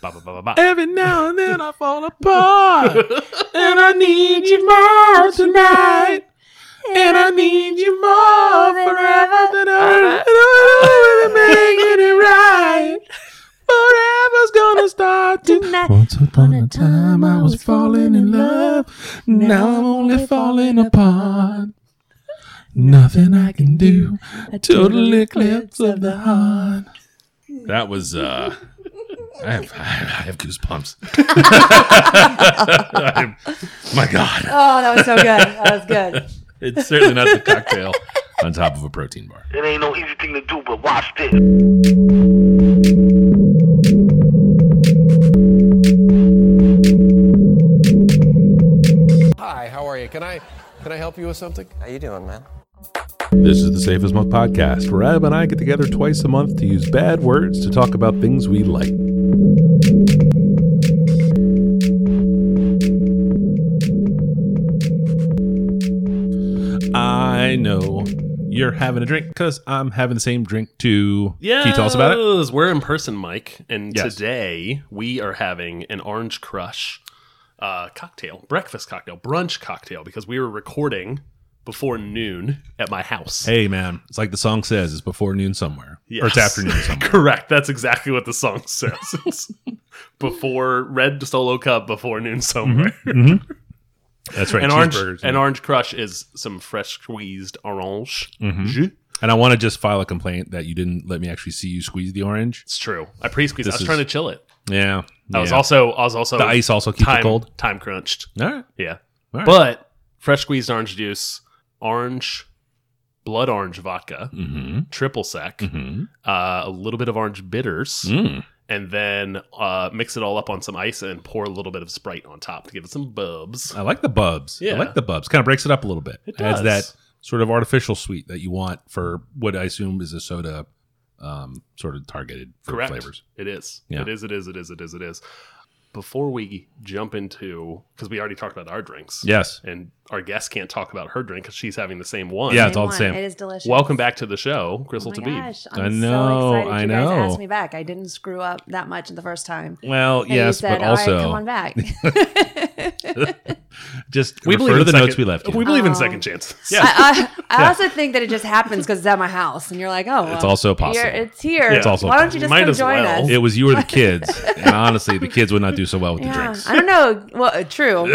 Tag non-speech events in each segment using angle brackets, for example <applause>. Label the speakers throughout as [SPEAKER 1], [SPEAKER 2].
[SPEAKER 1] Ba, ba, ba, ba, ba.
[SPEAKER 2] Every now and then I fall <laughs> apart, and I need you more tonight. And I need you more forever than ever. And I don't really make it right. Forever's gonna start tonight. Once upon a time I was falling in love. Now I'm only falling apart. Nothing I can do. A total eclipse of the heart.
[SPEAKER 1] That was. uh I have, I have <laughs> goosebumps. I am- my God.
[SPEAKER 3] Oh, that was so good. That
[SPEAKER 2] <laughs>
[SPEAKER 3] was good.
[SPEAKER 1] It's certainly not the cocktail on top of a protein bar.
[SPEAKER 4] It ain't no easy thing to do, but watch this.
[SPEAKER 5] Hi, how are you? Can I can I help you with something?
[SPEAKER 6] How you doing, man?
[SPEAKER 2] This is the Safest Month podcast, where Adam and I get together twice a month to use bad words to talk about things we like. I know you're having a drink because I'm having the same drink too.
[SPEAKER 1] Yeah.
[SPEAKER 2] Can you tell us about it?
[SPEAKER 1] We're in person, Mike.
[SPEAKER 7] And
[SPEAKER 2] Yes.
[SPEAKER 7] today we are having an orange crush uh, cocktail, breakfast cocktail, brunch cocktail, because we were recording before noon at my house.
[SPEAKER 2] Hey, man, it's like the song says it's before noon somewhere, or
[SPEAKER 7] Yes. <laughs>
[SPEAKER 2] it's afternoon somewhere.
[SPEAKER 7] Correct. That's exactly what the song <laughs> says. It's before red solo cup, before noon somewhere.
[SPEAKER 2] That's right.
[SPEAKER 7] An orange,
[SPEAKER 2] Mm-hmm. cheeseburgers.
[SPEAKER 7] an orange crush is some fresh squeezed orange.
[SPEAKER 2] Mm-hmm.
[SPEAKER 7] jus.
[SPEAKER 2] and I want to just file a complaint that you didn't let me actually see you squeeze the orange.
[SPEAKER 7] It's true. I pre-squeezed. I
[SPEAKER 2] This
[SPEAKER 7] was
[SPEAKER 2] is-
[SPEAKER 7] trying to chill it.
[SPEAKER 2] Yeah,
[SPEAKER 7] I was
[SPEAKER 2] yeah.
[SPEAKER 7] also. I was also.
[SPEAKER 2] the ice also keeps
[SPEAKER 7] time,
[SPEAKER 2] it cold.
[SPEAKER 7] Time crunched.
[SPEAKER 2] All right.
[SPEAKER 7] Yeah.
[SPEAKER 2] All right.
[SPEAKER 7] But fresh squeezed orange juice, orange, blood orange vodka,
[SPEAKER 2] Mm-hmm.
[SPEAKER 7] triple sec,
[SPEAKER 2] Mm-hmm.
[SPEAKER 7] uh, a little bit of orange bitters,
[SPEAKER 2] Mm.
[SPEAKER 7] and then uh, mix it all up on some ice and pour a little bit of Sprite on top to give it some bubs.
[SPEAKER 2] I like the bubs. I
[SPEAKER 7] Yeah.
[SPEAKER 2] like the bubs. Kind of breaks it up a little bit.
[SPEAKER 7] It
[SPEAKER 2] Adds
[SPEAKER 7] does.
[SPEAKER 2] that sort of artificial sweet that you want for what I assume is a soda, um, sort of targeted for
[SPEAKER 7] Correct.
[SPEAKER 2] flavors.
[SPEAKER 7] It is.
[SPEAKER 2] Yeah.
[SPEAKER 7] It is. It is. It is. It is. It is. Before we jump into, because we already talked about our drinks.
[SPEAKER 2] Yes.
[SPEAKER 7] And our guest can't talk about her drink because she's having the same one.
[SPEAKER 2] Yeah, it's all the
[SPEAKER 3] one.
[SPEAKER 2] same.
[SPEAKER 3] It is delicious.
[SPEAKER 7] Welcome back to the show, Crystal
[SPEAKER 3] Oh
[SPEAKER 7] to
[SPEAKER 3] my
[SPEAKER 7] be.
[SPEAKER 3] gosh,
[SPEAKER 2] I
[SPEAKER 3] I'm
[SPEAKER 2] know,
[SPEAKER 3] so excited
[SPEAKER 2] I
[SPEAKER 3] you
[SPEAKER 2] know.
[SPEAKER 3] guys asked me back. I didn't screw up that much the first time.
[SPEAKER 2] Well,
[SPEAKER 3] And
[SPEAKER 2] yes,
[SPEAKER 3] you said,
[SPEAKER 2] but
[SPEAKER 3] All right, come on
[SPEAKER 2] also <laughs>
[SPEAKER 3] back.
[SPEAKER 2] just we refer to the notes we left. you.
[SPEAKER 7] We believe in second chances. Yeah.
[SPEAKER 3] I, I, I also think that it just happens because it's at my house, and you're like, oh, well,
[SPEAKER 2] It's also possible.
[SPEAKER 3] Here, it's here.
[SPEAKER 2] It's also
[SPEAKER 3] Why don't you
[SPEAKER 2] possible.
[SPEAKER 3] just
[SPEAKER 7] Might
[SPEAKER 3] come
[SPEAKER 7] as
[SPEAKER 3] join
[SPEAKER 7] well.
[SPEAKER 3] us?
[SPEAKER 2] it was you <laughs> or the kids, and honestly, the kids would not do so well with the
[SPEAKER 3] yeah,
[SPEAKER 2] drinks.
[SPEAKER 3] I don't know. Well,
[SPEAKER 2] <laughs>
[SPEAKER 3] uh, true.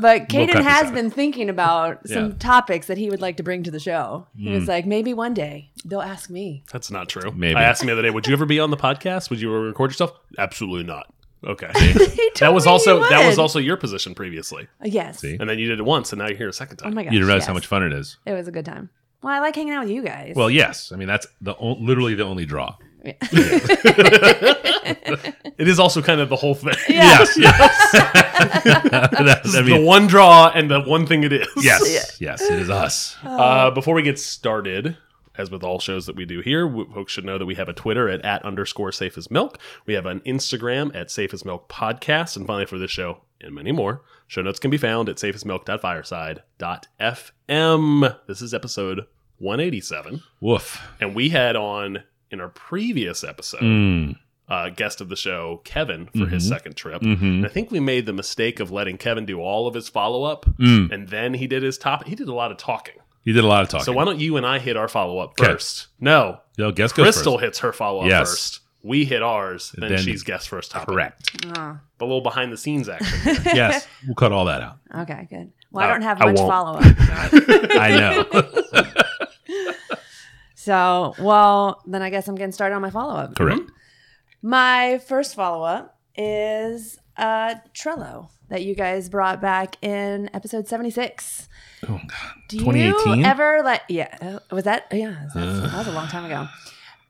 [SPEAKER 3] But
[SPEAKER 2] We'll
[SPEAKER 3] Caden
[SPEAKER 2] cut this
[SPEAKER 3] has
[SPEAKER 2] out.
[SPEAKER 3] been thinking about some
[SPEAKER 2] Yeah. Hmm.
[SPEAKER 3] topics that he would like to bring to the show. He was like, maybe one day they'll
[SPEAKER 2] <laughs>
[SPEAKER 3] ask me.
[SPEAKER 7] That's not true.
[SPEAKER 2] Maybe.
[SPEAKER 7] I asked him the other day, would you ever be on the podcast? Would you ever record yourself? Absolutely not.
[SPEAKER 2] <laughs>
[SPEAKER 7] Okay.
[SPEAKER 3] He
[SPEAKER 7] that
[SPEAKER 3] told
[SPEAKER 7] was
[SPEAKER 3] me he
[SPEAKER 7] also that was
[SPEAKER 3] would.
[SPEAKER 7] also your position previously.
[SPEAKER 3] Uh, yes.
[SPEAKER 2] See?
[SPEAKER 7] And then you did it once and now you're here a second
[SPEAKER 3] Oh
[SPEAKER 7] time.
[SPEAKER 3] my gosh!
[SPEAKER 2] You didn't realize how
[SPEAKER 3] yes.
[SPEAKER 2] much fun it is.
[SPEAKER 3] It was a good time. Well, I like hanging out with you guys. <laughs>
[SPEAKER 2] Well, yes. I mean, that's the o- literally the only draw.
[SPEAKER 7] It is also kind of the whole thing. <laughs>
[SPEAKER 2] Yes. Yes. <laughs> That- I mean,
[SPEAKER 7] the one draw and the one thing it is.
[SPEAKER 2] yes. Yes. It is us.
[SPEAKER 7] Uh, before we get started, as with all shows that we do here, w- folks should know that we have a Twitter at, at underscore safe as milk. We have an Instagram at safe as milk podcast. And finally, for this show and many more, show notes can be found at safeasmilk.fireside.fm. This is episode 187.
[SPEAKER 2] Woof.
[SPEAKER 7] And we had on in our previous episode,
[SPEAKER 3] Hmm,
[SPEAKER 7] uh, guest of the show, Kevin, for his second trip.
[SPEAKER 3] mm-hmm.
[SPEAKER 2] Mm-hmm.
[SPEAKER 7] And I think we made the mistake of letting Kevin do all of his follow up.
[SPEAKER 2] Mm.
[SPEAKER 7] And then he did his top. He did a lot of talking.
[SPEAKER 2] He did a lot of talking.
[SPEAKER 7] So why don't you and I hit our follow up
[SPEAKER 2] 'Kay.
[SPEAKER 7] first? No,
[SPEAKER 2] Yo, guess goes
[SPEAKER 7] Crystal
[SPEAKER 2] first.
[SPEAKER 7] hits her follow up
[SPEAKER 2] Yes.
[SPEAKER 7] first. We hit ours, then,
[SPEAKER 2] Then-
[SPEAKER 7] she's guest first topic.
[SPEAKER 3] <laughs>
[SPEAKER 2] Correct.
[SPEAKER 3] Oh,
[SPEAKER 7] A little behind the scenes
[SPEAKER 2] <laughs>
[SPEAKER 7] action.
[SPEAKER 2] yes, we'll cut all that
[SPEAKER 3] <laughs>
[SPEAKER 2] out.
[SPEAKER 3] Oh, okay, good. Well, I
[SPEAKER 7] Uh,
[SPEAKER 3] don't have
[SPEAKER 7] I
[SPEAKER 3] much
[SPEAKER 7] won't.
[SPEAKER 2] <laughs>
[SPEAKER 3] follow up.
[SPEAKER 2] I know.
[SPEAKER 3] So, well, then I guess I'm getting started on my follow
[SPEAKER 2] <laughs>
[SPEAKER 3] up.
[SPEAKER 2] Correct.
[SPEAKER 7] Mm-hmm.
[SPEAKER 3] My first follow up is uh, Trello that you guys brought back in episode 76.
[SPEAKER 2] Oh god.
[SPEAKER 3] Do
[SPEAKER 2] 2018?
[SPEAKER 3] you ever like, yeah, uh, was that, yeah, that's- that was a long time ago.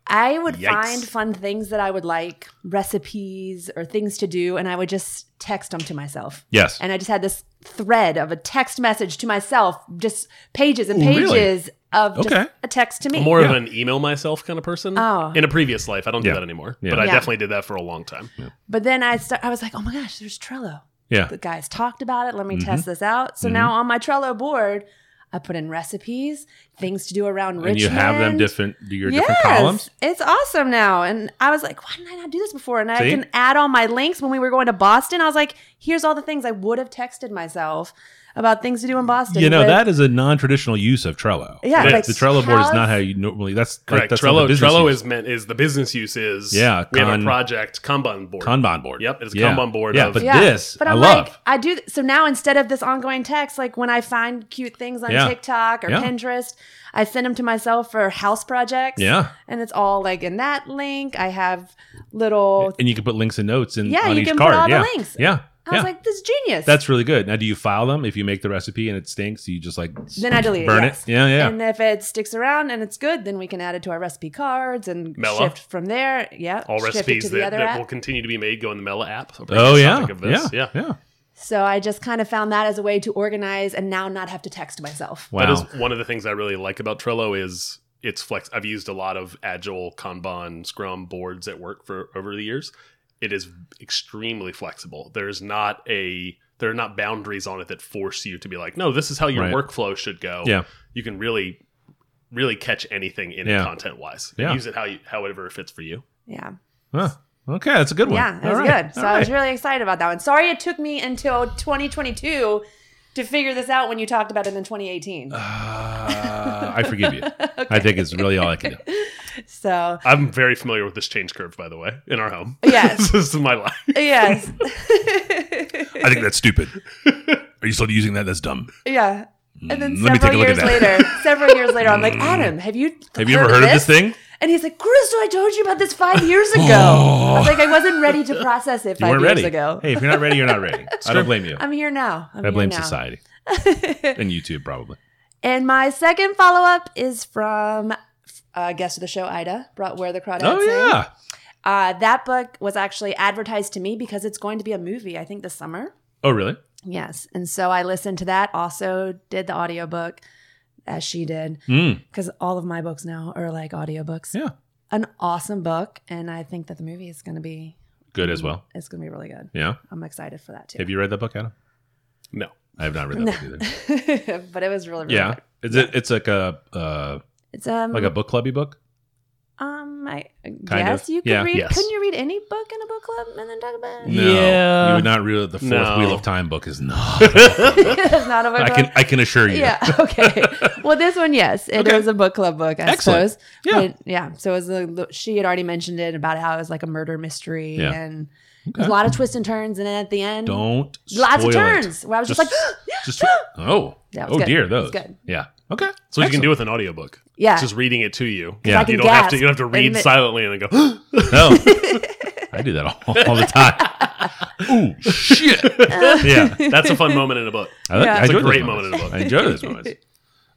[SPEAKER 3] I would
[SPEAKER 2] Yikes.
[SPEAKER 3] find fun things that I would like, recipes or things to do, and I would just text them to myself.
[SPEAKER 2] Yes.
[SPEAKER 3] and I just had this thread of a text message to myself, just pages and
[SPEAKER 2] Ooh, really?
[SPEAKER 3] pages of just
[SPEAKER 2] Okay.
[SPEAKER 3] a text to me.
[SPEAKER 7] More of
[SPEAKER 2] Yeah.
[SPEAKER 7] an email myself kind of person.
[SPEAKER 3] Oh.
[SPEAKER 7] In a previous life, I don't
[SPEAKER 2] Yeah.
[SPEAKER 7] do that anymore.
[SPEAKER 2] Yeah.
[SPEAKER 7] But I
[SPEAKER 3] Yeah.
[SPEAKER 7] definitely did that for a long time.
[SPEAKER 3] but then I start, I was like, oh my gosh, there's Trello.
[SPEAKER 2] yeah. Mm-hmm.
[SPEAKER 3] The guys talked about it. Let me test this out. So now on my Trello board, I put in recipes, things to do around Richmond.
[SPEAKER 2] and you have them different do your different columns.
[SPEAKER 3] It's awesome now. And I was like, why didn't I not do this before? And
[SPEAKER 2] See?
[SPEAKER 3] I can add all my links when we were going to Boston. I was like, here's all the things I would have texted myself about things to do in Boston.
[SPEAKER 2] You know
[SPEAKER 3] but-
[SPEAKER 2] that is a non-traditional use of Trello.
[SPEAKER 3] Yeah,
[SPEAKER 2] Like,
[SPEAKER 3] like
[SPEAKER 2] the Trello board is
[SPEAKER 3] how's-
[SPEAKER 2] not how you normally. That's like,
[SPEAKER 7] Correct.
[SPEAKER 2] that's not
[SPEAKER 7] Trello
[SPEAKER 2] the business
[SPEAKER 7] Trello
[SPEAKER 2] use.
[SPEAKER 7] is meant is the business use is
[SPEAKER 2] Yeah,
[SPEAKER 7] we have
[SPEAKER 2] con-
[SPEAKER 7] a project Kanban board.
[SPEAKER 2] Kanban board.
[SPEAKER 7] Yep, it's a
[SPEAKER 2] Yeah.
[SPEAKER 7] Kanban board
[SPEAKER 2] Yeah,
[SPEAKER 7] of-
[SPEAKER 2] but this i love.
[SPEAKER 3] like, I do. So now instead of this ongoing text, like when I find cute things on
[SPEAKER 2] Yeah.
[SPEAKER 3] TikTok or
[SPEAKER 2] Yeah.
[SPEAKER 3] Pinterest, I send them to myself for house projects.
[SPEAKER 2] Yeah.
[SPEAKER 3] And it's all like in that link. I have little.
[SPEAKER 2] and you can put links and notes in
[SPEAKER 3] Yeah,
[SPEAKER 2] on
[SPEAKER 3] you
[SPEAKER 2] each
[SPEAKER 3] can put
[SPEAKER 2] card.
[SPEAKER 3] all the
[SPEAKER 2] yeah.
[SPEAKER 3] links.
[SPEAKER 2] Yeah.
[SPEAKER 3] I was
[SPEAKER 2] yeah.
[SPEAKER 3] like, this is genius.
[SPEAKER 2] that's really good. Now, do you file them if you make the recipe and it stinks? You just like
[SPEAKER 3] then I delete
[SPEAKER 2] burn
[SPEAKER 3] it.
[SPEAKER 2] it.
[SPEAKER 3] yes.
[SPEAKER 2] Yeah, yeah.
[SPEAKER 3] And if it sticks around and it's good, then we can add it to our recipe cards and
[SPEAKER 7] Mella.
[SPEAKER 3] shift from there. Yeah,
[SPEAKER 7] all
[SPEAKER 3] shift it
[SPEAKER 7] recipes
[SPEAKER 3] to the
[SPEAKER 7] that,
[SPEAKER 3] other
[SPEAKER 7] that
[SPEAKER 3] app.
[SPEAKER 7] will continue to be made go in the Mela app. So
[SPEAKER 2] oh
[SPEAKER 7] the
[SPEAKER 2] yeah.
[SPEAKER 7] topic of this.
[SPEAKER 2] yeah, yeah,
[SPEAKER 3] So I just kind of found that as a way to organize and now not have to text myself.
[SPEAKER 2] Wow.
[SPEAKER 7] That is one of the things I really like about Trello is it's flex. I've used a lot of Agile, Kanban, Scrum boards at work for over the years. It is extremely flexible. There's not a there are not boundaries on it that force you to be like, no, this is how your
[SPEAKER 2] Right.
[SPEAKER 7] workflow should go.
[SPEAKER 2] Yeah.
[SPEAKER 7] you can really really catch anything in
[SPEAKER 2] Yeah.
[SPEAKER 7] it content wise.
[SPEAKER 2] Yeah.
[SPEAKER 7] use it how you however it fits for you.
[SPEAKER 3] Yeah.
[SPEAKER 2] Huh. Okay, that's a good one.
[SPEAKER 3] Yeah, it
[SPEAKER 2] All
[SPEAKER 3] was
[SPEAKER 2] right.
[SPEAKER 3] good. So
[SPEAKER 2] All
[SPEAKER 3] I was
[SPEAKER 2] right.
[SPEAKER 3] really excited about that one. Sorry it took me until 2022 to figure this out when you talked about it in 2018.
[SPEAKER 2] Uh, I forgive <laughs> you. I think it's really all I can do.
[SPEAKER 3] So,
[SPEAKER 7] I'm very familiar with this change curve, by the way, in our home. <laughs>
[SPEAKER 3] Yes.
[SPEAKER 7] this is my life.
[SPEAKER 3] yes.
[SPEAKER 2] <laughs>
[SPEAKER 3] <laughs>
[SPEAKER 2] I think that's stupid. Are you still using that? That's dumb.
[SPEAKER 3] yeah. And then
[SPEAKER 2] Mm, Let me take a
[SPEAKER 3] several
[SPEAKER 2] look at
[SPEAKER 3] years
[SPEAKER 2] that. Mm.
[SPEAKER 3] later,
[SPEAKER 2] <laughs>
[SPEAKER 3] several years later, I'm like, Adam, have you
[SPEAKER 2] Have you ever heard of this thing?
[SPEAKER 3] And he's like, Crystal, I told you about this five
[SPEAKER 2] <gasps>
[SPEAKER 3] years ago. I was like, I wasn't ready to process it
[SPEAKER 2] <laughs> You
[SPEAKER 3] five
[SPEAKER 2] weren't
[SPEAKER 3] years
[SPEAKER 2] ready.
[SPEAKER 3] ago.
[SPEAKER 2] Hey, if you're not ready, you're not <laughs> ready. I don't blame you.
[SPEAKER 3] I'm here now. I'm
[SPEAKER 2] I blame
[SPEAKER 3] here
[SPEAKER 2] <laughs>
[SPEAKER 3] now.
[SPEAKER 2] society and YouTube probably.
[SPEAKER 3] And my second follow up is from uh, guest of the show, Ida, brought Where the Crawdads
[SPEAKER 2] Oh
[SPEAKER 3] Sing.
[SPEAKER 2] yeah.
[SPEAKER 3] Uh, that book was actually advertised to me because it's going to be a movie, I think, this summer.
[SPEAKER 2] Oh really?
[SPEAKER 3] Yes. And so I listened to that, also did the audiobook as she did,
[SPEAKER 2] Mm.
[SPEAKER 3] because all of my books now are like audiobooks.
[SPEAKER 2] Yeah.
[SPEAKER 3] An awesome book. And I think that the movie is going to be.
[SPEAKER 2] Good as well.
[SPEAKER 3] It's going to be really good.
[SPEAKER 2] Mm. Yeah.
[SPEAKER 3] I'm excited for that too.
[SPEAKER 2] Have you read that book, Adam?
[SPEAKER 7] No.
[SPEAKER 2] I have not read that book <laughs>
[SPEAKER 3] <laughs>
[SPEAKER 2] either.
[SPEAKER 3] but it was really, really
[SPEAKER 2] Yeah.
[SPEAKER 3] good.
[SPEAKER 2] Is it? It's like a uh,
[SPEAKER 3] It's um
[SPEAKER 2] like a book clubby book.
[SPEAKER 3] um I
[SPEAKER 2] Kind
[SPEAKER 3] guess
[SPEAKER 2] of.
[SPEAKER 3] you could
[SPEAKER 2] Yeah.
[SPEAKER 3] read
[SPEAKER 7] Yes.
[SPEAKER 3] couldn't you read any book in a book club and then talk about it?
[SPEAKER 2] No,
[SPEAKER 7] Yeah.
[SPEAKER 2] you would not read the fourth
[SPEAKER 7] No.
[SPEAKER 2] wheel of time book. Is not.
[SPEAKER 3] <laughs>
[SPEAKER 2] <laughs>
[SPEAKER 3] it's not a book
[SPEAKER 2] I
[SPEAKER 3] club.
[SPEAKER 2] can I can assure you.
[SPEAKER 3] yeah. <laughs> Okay. Well, this one, yes, it is
[SPEAKER 2] Okay.
[SPEAKER 3] a book club book, I
[SPEAKER 2] Excellent.
[SPEAKER 3] suppose.
[SPEAKER 2] Yeah.
[SPEAKER 3] But, yeah. So it was a, she had already mentioned it about how it was like a murder mystery
[SPEAKER 2] Yeah.
[SPEAKER 3] and there's a lot of twists and turns, and then at the end,
[SPEAKER 2] Don't
[SPEAKER 3] lots of
[SPEAKER 2] spoil it.
[SPEAKER 3] turns. Where I was just, <gasps> like,
[SPEAKER 2] just oh
[SPEAKER 3] That was
[SPEAKER 2] oh
[SPEAKER 3] good.
[SPEAKER 2] dear
[SPEAKER 3] That was
[SPEAKER 2] those
[SPEAKER 3] good.
[SPEAKER 2] yeah okay
[SPEAKER 7] So what you can do with an audiobook.
[SPEAKER 3] yeah,
[SPEAKER 7] It's just reading it to you.
[SPEAKER 2] Yeah. I
[SPEAKER 3] can
[SPEAKER 7] You don't have
[SPEAKER 3] gasp
[SPEAKER 7] to you don't have to
[SPEAKER 3] and
[SPEAKER 7] read
[SPEAKER 3] admit-
[SPEAKER 7] silently
[SPEAKER 3] <laughs>
[SPEAKER 7] and then go
[SPEAKER 2] no Oh. I do that all, all the time
[SPEAKER 3] <laughs>
[SPEAKER 2] ooh shit yeah
[SPEAKER 7] That's a fun moment in a book.
[SPEAKER 2] I, like-
[SPEAKER 3] Yeah.
[SPEAKER 2] I
[SPEAKER 3] It's
[SPEAKER 7] a
[SPEAKER 2] enjoy those
[SPEAKER 7] great moment
[SPEAKER 2] moments.
[SPEAKER 7] in the book.
[SPEAKER 2] I enjoy those
[SPEAKER 3] <laughs>
[SPEAKER 2] moments.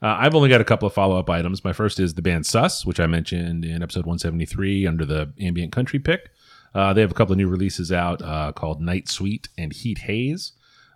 [SPEAKER 2] Uh, I've only got a couple of follow up items. My first is the band Sus, which I mentioned in episode 173 under the ambient country pick. Uh, they have a couple of new releases out uh, called Night Sweet and Heat Haze.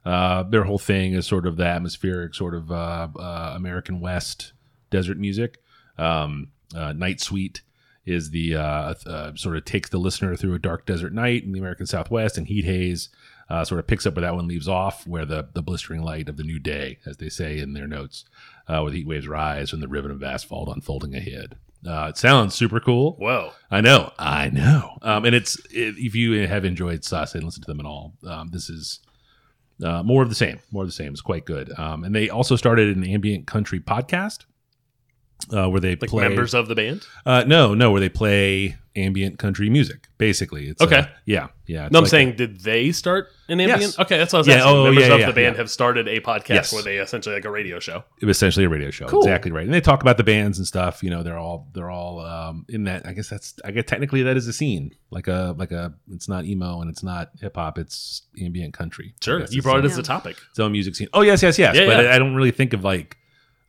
[SPEAKER 2] Uh, their whole thing is sort of the atmospheric, sort of uh, uh, American West desert music. Um, uh, Night Sweet is the uh, th- uh, sort of takes the listener through a dark desert night in the American Southwest, and Heat Haze uh, sort of picks up where that one leaves off, where the the blistering light of the new day, as they say in their notes, uh, where the heat waves rise from the ribbon of asphalt unfolding ahead. Uh, it sounds super cool.
[SPEAKER 7] Whoa.
[SPEAKER 2] I know, I know. Um, and it's it, if you have enjoyed Sus and listened to them at all, um, this is uh, more of the same. More of the same. It's quite good. Um, and they also started an ambient country podcast uh, where they
[SPEAKER 7] Like
[SPEAKER 2] play
[SPEAKER 7] members of the band?
[SPEAKER 2] Uh, no, no, where they play ambient country music. Basically, it's uh,
[SPEAKER 7] Okay.
[SPEAKER 2] yeah, yeah. it's
[SPEAKER 7] No, I'm
[SPEAKER 2] like-
[SPEAKER 7] saying, did they start an ambient?
[SPEAKER 2] Yes.
[SPEAKER 7] Okay, that's what I was
[SPEAKER 2] Yeah,
[SPEAKER 7] asking.
[SPEAKER 2] oh,
[SPEAKER 7] Members
[SPEAKER 2] yeah,
[SPEAKER 7] of
[SPEAKER 2] yeah,
[SPEAKER 7] the band
[SPEAKER 2] yeah.
[SPEAKER 7] have started a podcast
[SPEAKER 2] Yes.
[SPEAKER 7] where they essentially like a radio show.
[SPEAKER 2] essentially a radio show. Exactly right. And they talk about the bands and stuff. You know, they're all they're all um, in that. I guess that's I guess technically that is a scene like a like a. It's not emo and it's not hip hop. It's ambient country. I
[SPEAKER 7] Sure.
[SPEAKER 2] guess
[SPEAKER 7] You
[SPEAKER 2] it's
[SPEAKER 7] brought it
[SPEAKER 2] its,
[SPEAKER 7] as a topic.
[SPEAKER 2] its own music scene. Oh yes, yes, yes.
[SPEAKER 7] Yeah,
[SPEAKER 2] but
[SPEAKER 7] yeah.
[SPEAKER 2] I, I don't really think of like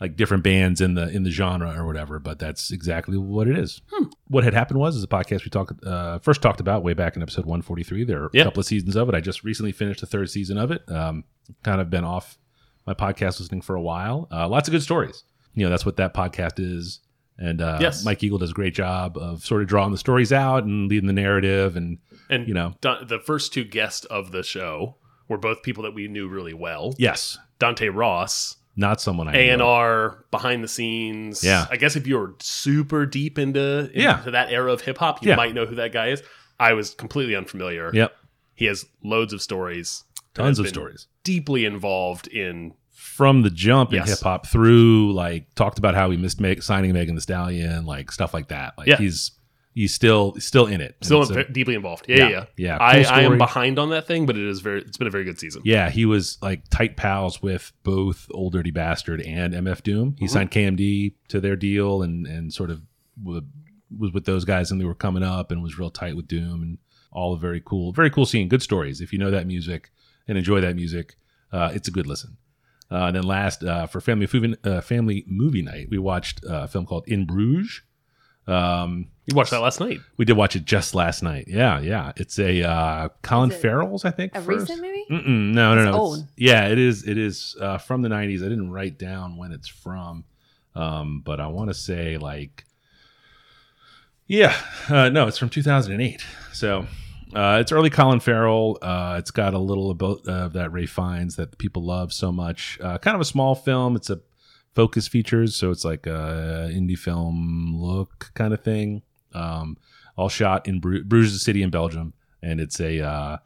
[SPEAKER 2] like different bands in the in the genre or whatever. But that's exactly what it is.
[SPEAKER 7] Hmm.
[SPEAKER 2] What had happened was is a podcast we talked uh, first talked about way back in episode 143. There are
[SPEAKER 7] Yeah.
[SPEAKER 2] a couple of seasons of it. I just recently finished the third season of it. Um, kind of been off my podcast listening for a while. Uh, lots of good stories. You know that's what that podcast is. And uh,
[SPEAKER 7] Yes.
[SPEAKER 2] Mike Eagle does a great job of sort of drawing the stories out and leading the narrative and
[SPEAKER 7] And
[SPEAKER 2] you know
[SPEAKER 7] Don, the first two guests of the show were both people that we knew really well.
[SPEAKER 2] yes
[SPEAKER 7] Dante Ross
[SPEAKER 2] Not someone I
[SPEAKER 7] A and
[SPEAKER 2] know.
[SPEAKER 7] R behind the scenes.
[SPEAKER 2] Yeah.
[SPEAKER 7] I guess if you were super deep into, into
[SPEAKER 2] Yeah.
[SPEAKER 7] that era of hip hop, you
[SPEAKER 2] Yeah.
[SPEAKER 7] might know who that guy is. I was completely unfamiliar.
[SPEAKER 2] Yep.
[SPEAKER 7] He has loads of stories. that
[SPEAKER 2] Tons
[SPEAKER 7] have
[SPEAKER 2] of
[SPEAKER 7] been
[SPEAKER 2] stories.
[SPEAKER 7] Deeply involved in
[SPEAKER 2] From the jump in
[SPEAKER 7] Yes.
[SPEAKER 2] hip hop through like talked about how he missed make, signing Megan the Stallion, like stuff like that. Like
[SPEAKER 7] Yeah.
[SPEAKER 2] he's he's still still in it. And
[SPEAKER 7] still
[SPEAKER 2] it's a-
[SPEAKER 7] ve- deeply involved. Yeah, yeah,
[SPEAKER 2] Yeah,
[SPEAKER 7] yeah.
[SPEAKER 2] yeah.
[SPEAKER 7] I,
[SPEAKER 2] Cool
[SPEAKER 7] I
[SPEAKER 2] story.
[SPEAKER 7] am behind on that thing, but it is very. It's been a very good season.
[SPEAKER 2] Yeah, he was like tight pals with both Old Dirty Bastard and MF Doom. He signed KMD to their deal and and sort of wa- was with those guys and they were coming up and was real tight with Doom and all very cool, very cool scene. Good stories. If you know that music and enjoy that music, uh, it's a good listen. Uh, and then last uh, for family movie, uh, family movie night, we watched uh, a film called In Bruges. Um,
[SPEAKER 7] You watched that last night.
[SPEAKER 2] we did watch it just last night. Yeah, yeah. It's a uh, Colin
[SPEAKER 3] Is it
[SPEAKER 2] Farrell's, I think.
[SPEAKER 3] a
[SPEAKER 2] first. Mm,
[SPEAKER 3] recent movie?
[SPEAKER 2] Mm-mm, no, no, no.
[SPEAKER 3] It's
[SPEAKER 2] it's-
[SPEAKER 3] old.
[SPEAKER 2] yeah, it is. It is uh, from the '90s. I didn't write down when it's from, um, but I want to say like, yeah, uh, no, it's from 2008. So uh, it's early Colin Farrell. Uh, it's got a little about of that Ray Fiennes that people love so much. Uh, kind of a small film. It's a focus features, so it's like a indie film look kind of thing. Um, all shot in Bru- Bruges, the city in Belgium, and it's a uh,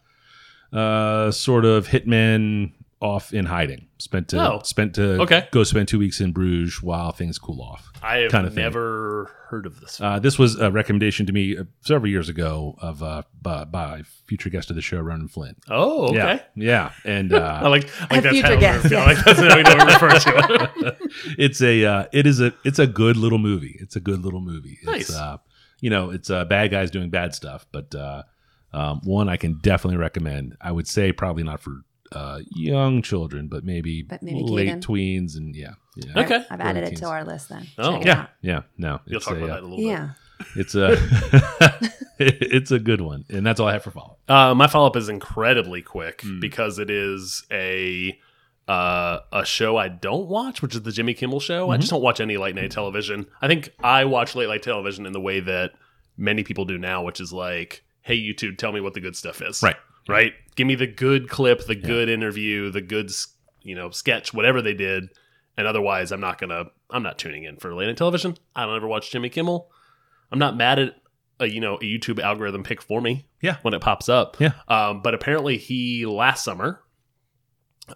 [SPEAKER 2] uh, sort of hitman off in hiding. Spent to
[SPEAKER 7] Oh.
[SPEAKER 2] spent to
[SPEAKER 7] Okay.
[SPEAKER 2] go spend two weeks in Bruges while things cool off.
[SPEAKER 7] I have
[SPEAKER 2] Kinda thing.
[SPEAKER 7] never heard of this.
[SPEAKER 2] Uh, this was a recommendation to me uh, several years ago of uh, by, by future guest of the show, Ronan Flynn.
[SPEAKER 7] oh, okay.
[SPEAKER 2] Yeah, yeah,
[SPEAKER 7] <laughs>
[SPEAKER 2] and
[SPEAKER 7] I
[SPEAKER 2] uh,
[SPEAKER 7] like, <laughs> I like that's
[SPEAKER 3] future
[SPEAKER 7] how
[SPEAKER 3] guest,
[SPEAKER 7] we're, yeah,
[SPEAKER 3] yes.
[SPEAKER 7] like that's how we know we refer
[SPEAKER 2] <laughs>
[SPEAKER 7] to it.
[SPEAKER 2] it's a uh, it is a it's a good little movie. It's a good little movie.
[SPEAKER 7] Nice.
[SPEAKER 2] It's, uh, you know, it's uh, bad guys doing bad stuff, but uh, um, one I can definitely recommend. I would say probably not for uh, young children, but maybe,
[SPEAKER 3] But maybe
[SPEAKER 2] late
[SPEAKER 3] Kaden.
[SPEAKER 2] tweens and yeah, yeah,
[SPEAKER 3] All right,
[SPEAKER 7] Okay.
[SPEAKER 3] I've added it
[SPEAKER 2] Quarantines.
[SPEAKER 3] to our list then.
[SPEAKER 7] Oh.
[SPEAKER 3] Check it
[SPEAKER 2] yeah,
[SPEAKER 3] out.
[SPEAKER 2] yeah. No,
[SPEAKER 7] You'll
[SPEAKER 2] it's
[SPEAKER 7] talk
[SPEAKER 2] a,
[SPEAKER 7] about
[SPEAKER 2] uh,
[SPEAKER 7] that a little bit.
[SPEAKER 3] Yeah.
[SPEAKER 2] It's a <laughs> it's a good one, and that's all I have for follow.
[SPEAKER 7] Uh, my follow up is incredibly quick because it is a uh, a show I don't watch, which is the Jimmy Kimmel Show. I just don't watch any late night television. I think I watch late night television in the way that many people do now, which is like, hey YouTube, tell me what the good stuff is.
[SPEAKER 2] Right.
[SPEAKER 7] right. Give me the good clip, the good interview, the good s- you know sketch, whatever they did. And otherwise, I'm not gonna. I'm not tuning in for late night television. I don't ever watch Jimmy Kimmel. I'm not mad at a you know a YouTube algorithm pick for me.
[SPEAKER 2] Yeah.
[SPEAKER 7] when it pops up.
[SPEAKER 2] Yeah.
[SPEAKER 7] Um, but apparently he last summer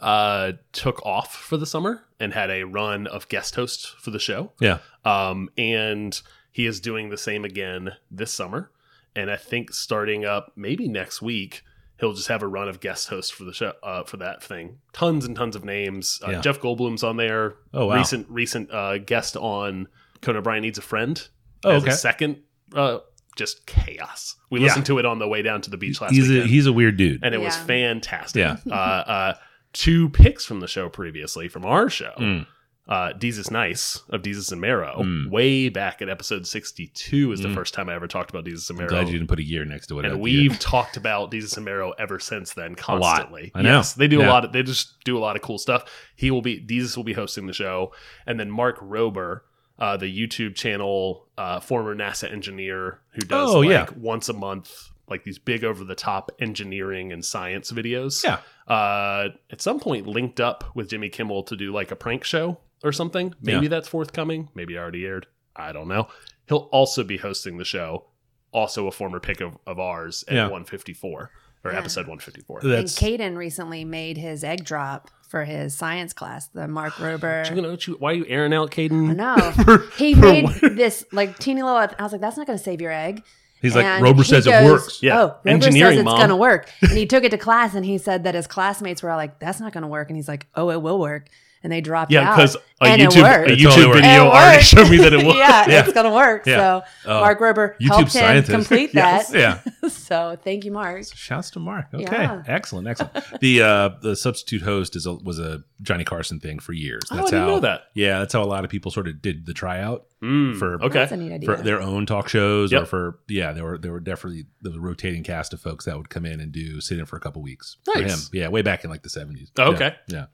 [SPEAKER 7] uh took off for the summer and had a run of guest hosts for the show.
[SPEAKER 2] Yeah.
[SPEAKER 7] Um, and he is doing the same again this summer. And I think starting up maybe next week, he'll just have a run of guest hosts for the show uh, for that thing. Tons and tons of names. Uh,
[SPEAKER 2] Yeah.
[SPEAKER 7] Jeff Goldblum's on there.
[SPEAKER 2] Oh, wow.
[SPEAKER 7] Recent recent uh, guest on Conan O'Brien needs a friend.
[SPEAKER 2] Oh,
[SPEAKER 7] as
[SPEAKER 2] okay.
[SPEAKER 7] a second. Uh, just chaos. We
[SPEAKER 2] Yeah.
[SPEAKER 7] listened to it on the way down to the beach last
[SPEAKER 2] He's a,
[SPEAKER 7] weekend
[SPEAKER 2] he's a weird dude.
[SPEAKER 7] and it was
[SPEAKER 3] Yeah.
[SPEAKER 7] fantastic.
[SPEAKER 2] Yeah.
[SPEAKER 7] Uh, uh, two picks from the show previously from our show.
[SPEAKER 2] Mm.
[SPEAKER 7] Uh, Jesus Nice of Jesus and Marrow,
[SPEAKER 2] Mm.
[SPEAKER 7] way back at episode 62 is the
[SPEAKER 2] Mm.
[SPEAKER 7] first time I ever talked about Jesus and
[SPEAKER 2] I'm
[SPEAKER 7] Marrow.
[SPEAKER 2] glad you didn't put a year next to it. I
[SPEAKER 7] and
[SPEAKER 2] did.
[SPEAKER 7] we've talked about Jesus and Marrow ever since then
[SPEAKER 2] lot.
[SPEAKER 7] constantly.
[SPEAKER 2] I know.
[SPEAKER 7] Yes, they do
[SPEAKER 2] Yeah.
[SPEAKER 7] a lot. Of, they just do a lot of cool stuff. He will be Jesus will be hosting the show, and then Mark Rober, uh, the YouTube channel uh, former NASA engineer who does
[SPEAKER 2] Oh,
[SPEAKER 7] like
[SPEAKER 2] yeah.
[SPEAKER 7] once a month like these big over the top engineering and science videos.
[SPEAKER 2] Yeah.
[SPEAKER 7] Uh, at some point linked up with Jimmy Kimmel to do like a prank show or something. Maybe
[SPEAKER 2] Yeah.
[SPEAKER 7] that's forthcoming. Maybe it already aired. I don't know. He'll also be hosting the show. Also a former pick of, of ours at
[SPEAKER 2] Yeah.
[SPEAKER 7] 154 or
[SPEAKER 3] Yeah.
[SPEAKER 7] episode 154.
[SPEAKER 2] that's
[SPEAKER 3] And Caden recently made his egg drop for his science class, the Mark
[SPEAKER 2] <gasps>
[SPEAKER 3] Rober.
[SPEAKER 7] You gonna- you- why are you airing out, Caden?
[SPEAKER 3] No,
[SPEAKER 2] <laughs> For-
[SPEAKER 3] he
[SPEAKER 2] for
[SPEAKER 3] made
[SPEAKER 2] what-
[SPEAKER 3] this like teeny little. I was like, that's not going to save your egg.
[SPEAKER 2] he's like
[SPEAKER 3] And
[SPEAKER 2] Rober
[SPEAKER 3] he
[SPEAKER 2] says it
[SPEAKER 3] goes,
[SPEAKER 2] works.
[SPEAKER 7] Yeah.
[SPEAKER 3] Oh, Rober
[SPEAKER 7] Engineering,
[SPEAKER 3] says it's
[SPEAKER 7] Mom.
[SPEAKER 3] going to work. And he took it to class and he said that his classmates were like, that's not going to work. And he's like, oh, it will work. And they dropped
[SPEAKER 7] Yeah,
[SPEAKER 3] out.
[SPEAKER 7] because a
[SPEAKER 3] and it
[SPEAKER 7] YouTube,
[SPEAKER 3] worked.
[SPEAKER 7] a
[SPEAKER 2] It
[SPEAKER 3] <laughs>
[SPEAKER 7] YouTube
[SPEAKER 2] totally worked.
[SPEAKER 7] video
[SPEAKER 3] It
[SPEAKER 7] already
[SPEAKER 3] worked.
[SPEAKER 7] showed me that it worked.
[SPEAKER 3] <laughs> yeah,
[SPEAKER 2] Yeah.
[SPEAKER 3] it's going to work.
[SPEAKER 2] Yeah.
[SPEAKER 3] So
[SPEAKER 2] Oh,
[SPEAKER 3] Mark Rober
[SPEAKER 2] YouTube
[SPEAKER 3] helped him
[SPEAKER 2] scientist.
[SPEAKER 3] complete
[SPEAKER 2] <laughs> Yes.
[SPEAKER 3] that.
[SPEAKER 2] Yeah.
[SPEAKER 3] <laughs> so thank you, Mark.
[SPEAKER 2] Shouts to Mark. Okay,
[SPEAKER 3] Yeah.
[SPEAKER 2] excellent, excellent. the uh, the substitute host is a, was a Johnny Carson thing for years.
[SPEAKER 7] Oh, I
[SPEAKER 2] That's
[SPEAKER 7] didn't
[SPEAKER 2] how,
[SPEAKER 7] know that.
[SPEAKER 2] Yeah, that's how a lot of people sort of did the tryout
[SPEAKER 7] Mm,
[SPEAKER 2] For-
[SPEAKER 7] okay.
[SPEAKER 3] That's a neat idea.
[SPEAKER 2] for their own talk shows or
[SPEAKER 7] Yep.
[SPEAKER 2] for yeah. There were there were definitely there was a rotating cast of folks that would come in and do sit in for a couple weeks. For him,
[SPEAKER 7] Nice.
[SPEAKER 2] yeah, way back in like the seventies.
[SPEAKER 7] Oh, okay.
[SPEAKER 2] yeah,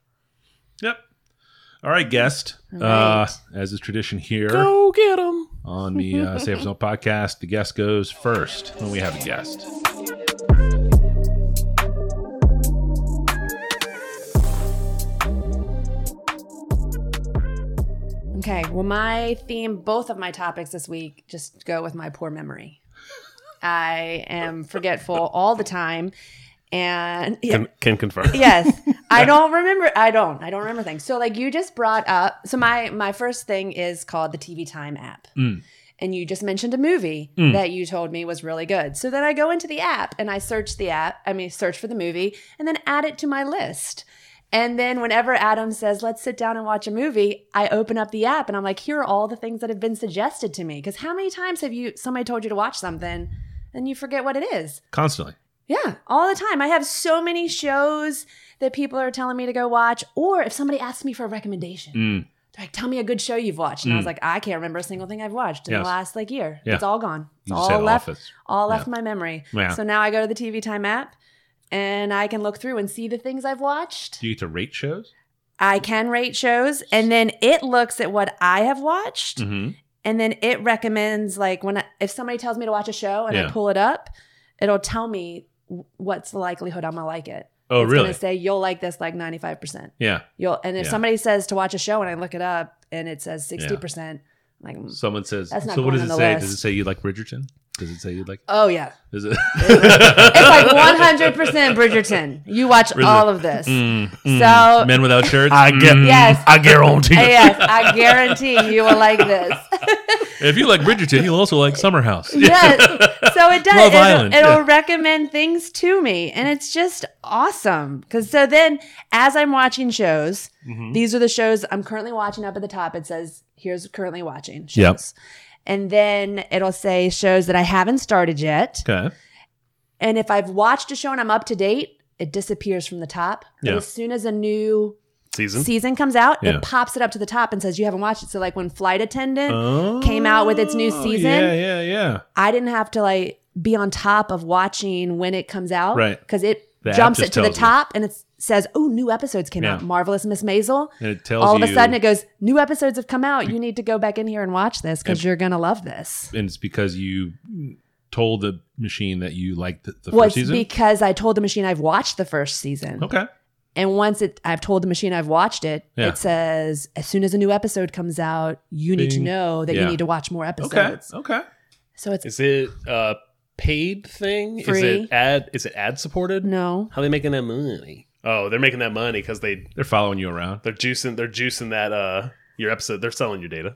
[SPEAKER 2] yep. All right, guest.
[SPEAKER 3] All right.
[SPEAKER 2] Uh, as is tradition here
[SPEAKER 7] Go get him.
[SPEAKER 2] on the uh,
[SPEAKER 7] <laughs>
[SPEAKER 2] Save Zone podcast, the guest goes first when we have a guest.
[SPEAKER 3] Okay. Well, my theme, both of my topics this week, just go with my poor memory. I am forgetful all the time, and yeah,
[SPEAKER 7] Can, can confirm.
[SPEAKER 3] <laughs> yes, I don't remember. I don't. I don't remember things. So, like you just brought up. So my my first thing is called the TV Time app. And you just mentioned a movie that you told me was really good. So then I go into the app and I search the app, I mean, search for the movie and then add it to my list. And then whenever Adam says, let's sit down and watch a movie, I open up the app and I'm like, here are all the things that have been suggested to me. Because how many times have you, somebody told you to watch something and you forget what it is?
[SPEAKER 8] Constantly.
[SPEAKER 3] Yeah, all the time. I have so many shows that people are telling me to go watch, or if somebody asks me for a recommendation,
[SPEAKER 8] Mm.
[SPEAKER 3] they're like, tell me a good show you've watched. And I was like, I can't remember a single thing I've watched in
[SPEAKER 8] Yes.
[SPEAKER 3] the last like year.
[SPEAKER 8] Yeah.
[SPEAKER 3] It's all gone. It's
[SPEAKER 8] You just
[SPEAKER 3] all
[SPEAKER 8] said
[SPEAKER 3] left
[SPEAKER 8] office.
[SPEAKER 3] all left my memory.
[SPEAKER 8] Yeah.
[SPEAKER 3] So now I go to the TV time app and I can look through and see the things I've watched.
[SPEAKER 8] Do you get to rate shows?
[SPEAKER 3] I can rate shows and then it looks at what I have watched
[SPEAKER 8] Mm-hmm.
[SPEAKER 3] and then it recommends like when I, if somebody tells me to watch a show and
[SPEAKER 8] Yeah.
[SPEAKER 3] I pull it up, it'll tell me w- what's the likelihood I'm gonna like it.
[SPEAKER 8] Oh,
[SPEAKER 3] it's
[SPEAKER 8] really?
[SPEAKER 3] Gonna say you'll like this like ninety five percent.
[SPEAKER 8] yeah.
[SPEAKER 3] You'll and if
[SPEAKER 8] Yeah.
[SPEAKER 3] somebody says to watch a show and I look it up and it says sixty percent, like mm,
[SPEAKER 8] Someone says.
[SPEAKER 3] That's not
[SPEAKER 8] So what
[SPEAKER 3] going
[SPEAKER 8] does it
[SPEAKER 3] on the
[SPEAKER 8] say?
[SPEAKER 3] list.
[SPEAKER 8] Does it say you like Bridgerton? Does it say you like?
[SPEAKER 3] oh yeah,
[SPEAKER 8] Is it?
[SPEAKER 3] <laughs> it's
[SPEAKER 8] <laughs>
[SPEAKER 3] like one hundred percent Bridgerton. You watch all of this,
[SPEAKER 8] Mm-hmm.
[SPEAKER 3] so
[SPEAKER 8] Mm, Men without shirts. Mm.
[SPEAKER 9] I get.
[SPEAKER 3] yes.
[SPEAKER 9] I
[SPEAKER 3] <laughs>
[SPEAKER 9] guarantee it.
[SPEAKER 3] Yes, I guarantee you will like this.
[SPEAKER 8] if you like Bridgerton, you'll also like Summer House. <laughs>
[SPEAKER 3] yes. So it does.
[SPEAKER 8] Love
[SPEAKER 3] it'll
[SPEAKER 8] Island,
[SPEAKER 3] it'll
[SPEAKER 8] yeah.
[SPEAKER 3] recommend things to me. And it's just awesome. Because so then, as I'm watching shows,
[SPEAKER 8] Mm-hmm.
[SPEAKER 3] these are the shows I'm currently watching up at the top. It says, here's currently watching shows.
[SPEAKER 8] Yep.
[SPEAKER 3] And then it'll say shows that I haven't started yet.
[SPEAKER 8] Okay.
[SPEAKER 3] And if I've watched a show and I'm up to date, it disappears from the top. But
[SPEAKER 8] Yeah. Mm-hmm.
[SPEAKER 3] as soon as a new
[SPEAKER 7] Season.
[SPEAKER 3] season comes out,
[SPEAKER 8] Yeah.
[SPEAKER 3] it pops it up to the top and says, you haven't watched it. So, like when Flight Attendant came out with its new
[SPEAKER 8] Oh,
[SPEAKER 3] season,
[SPEAKER 8] Yeah, yeah, yeah.
[SPEAKER 3] I didn't have to like be on top of watching when it comes out.
[SPEAKER 8] Right.
[SPEAKER 3] Because it
[SPEAKER 8] The app
[SPEAKER 3] jumps
[SPEAKER 8] just
[SPEAKER 3] it to the
[SPEAKER 8] tells you.
[SPEAKER 3] top and it says, oh, new episodes came
[SPEAKER 8] Yeah.
[SPEAKER 3] out. Marvelous Miss Maisel.
[SPEAKER 8] And it tells
[SPEAKER 3] All of a
[SPEAKER 8] you-
[SPEAKER 3] sudden it goes, new episodes have come out. You need to go back in here and watch this because you're going to love this.
[SPEAKER 8] and it's because you told the machine that you liked the, the
[SPEAKER 3] Well,
[SPEAKER 8] first
[SPEAKER 3] it's
[SPEAKER 8] season.
[SPEAKER 3] because I told the machine I've watched the first season.
[SPEAKER 8] okay.
[SPEAKER 3] And once it, I've told the machine I've watched it,
[SPEAKER 8] Yeah.
[SPEAKER 3] it says, as soon as a new episode comes out, you need to
[SPEAKER 8] Bing.
[SPEAKER 3] know that
[SPEAKER 8] Yeah.
[SPEAKER 3] you need to watch more
[SPEAKER 8] Okay.
[SPEAKER 3] episodes.
[SPEAKER 8] Okay.
[SPEAKER 3] So it's
[SPEAKER 7] Is it a paid thing? Is
[SPEAKER 3] Free.
[SPEAKER 7] it ad? Is it ad supported?
[SPEAKER 3] no.
[SPEAKER 7] How are they making that money? Oh, they're making that money because they
[SPEAKER 8] They're following you around.
[SPEAKER 7] they're juicing they're juicing that uh your episode. They're selling your data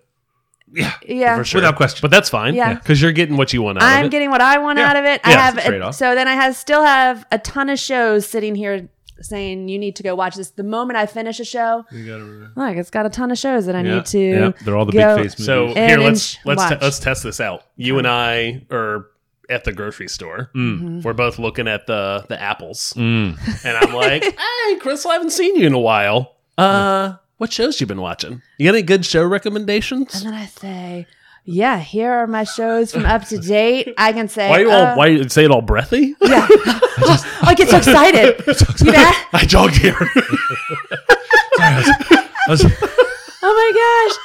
[SPEAKER 3] Yeah.
[SPEAKER 7] for sure,
[SPEAKER 8] Without question.
[SPEAKER 7] But that's fine.
[SPEAKER 3] Yeah.
[SPEAKER 7] because you're getting what you want out
[SPEAKER 3] I'm
[SPEAKER 7] of it.
[SPEAKER 3] getting what I want
[SPEAKER 8] Yeah.
[SPEAKER 3] out of it. I
[SPEAKER 8] Yeah,
[SPEAKER 3] have
[SPEAKER 8] it's a trade-off.
[SPEAKER 3] so then I have still have a ton of shows sitting here saying you need to go watch this. The moment I finish a show, look, it's got a ton of shows that I need to.
[SPEAKER 8] Yeah. They're all the
[SPEAKER 3] go-
[SPEAKER 8] big face movies.
[SPEAKER 7] so
[SPEAKER 3] And
[SPEAKER 7] here,
[SPEAKER 3] then
[SPEAKER 7] let's
[SPEAKER 3] sh-
[SPEAKER 7] let's te-
[SPEAKER 3] watch.
[SPEAKER 7] let's test this out. You and I are at the grocery store.
[SPEAKER 3] Mm-hmm.
[SPEAKER 7] We're both looking at the the apples,
[SPEAKER 8] Mm.
[SPEAKER 7] and I'm
[SPEAKER 3] <laughs>
[SPEAKER 7] like, "Hey, Chris, I haven't seen you in a while. Uh, what shows you been watching? You got any good show recommendations?
[SPEAKER 3] <laughs> And then I say, yeah, here are my shows from up
[SPEAKER 8] <laughs>
[SPEAKER 3] to date. I can say,
[SPEAKER 7] Why you
[SPEAKER 3] uh,
[SPEAKER 7] all? Why you say it all breathy?
[SPEAKER 3] Yeah. oh, I
[SPEAKER 8] <laughs>
[SPEAKER 3] get so excited. <laughs> you know?
[SPEAKER 7] I jogged
[SPEAKER 2] <laughs>
[SPEAKER 7] here.
[SPEAKER 8] Let's-
[SPEAKER 3] Oh my gosh.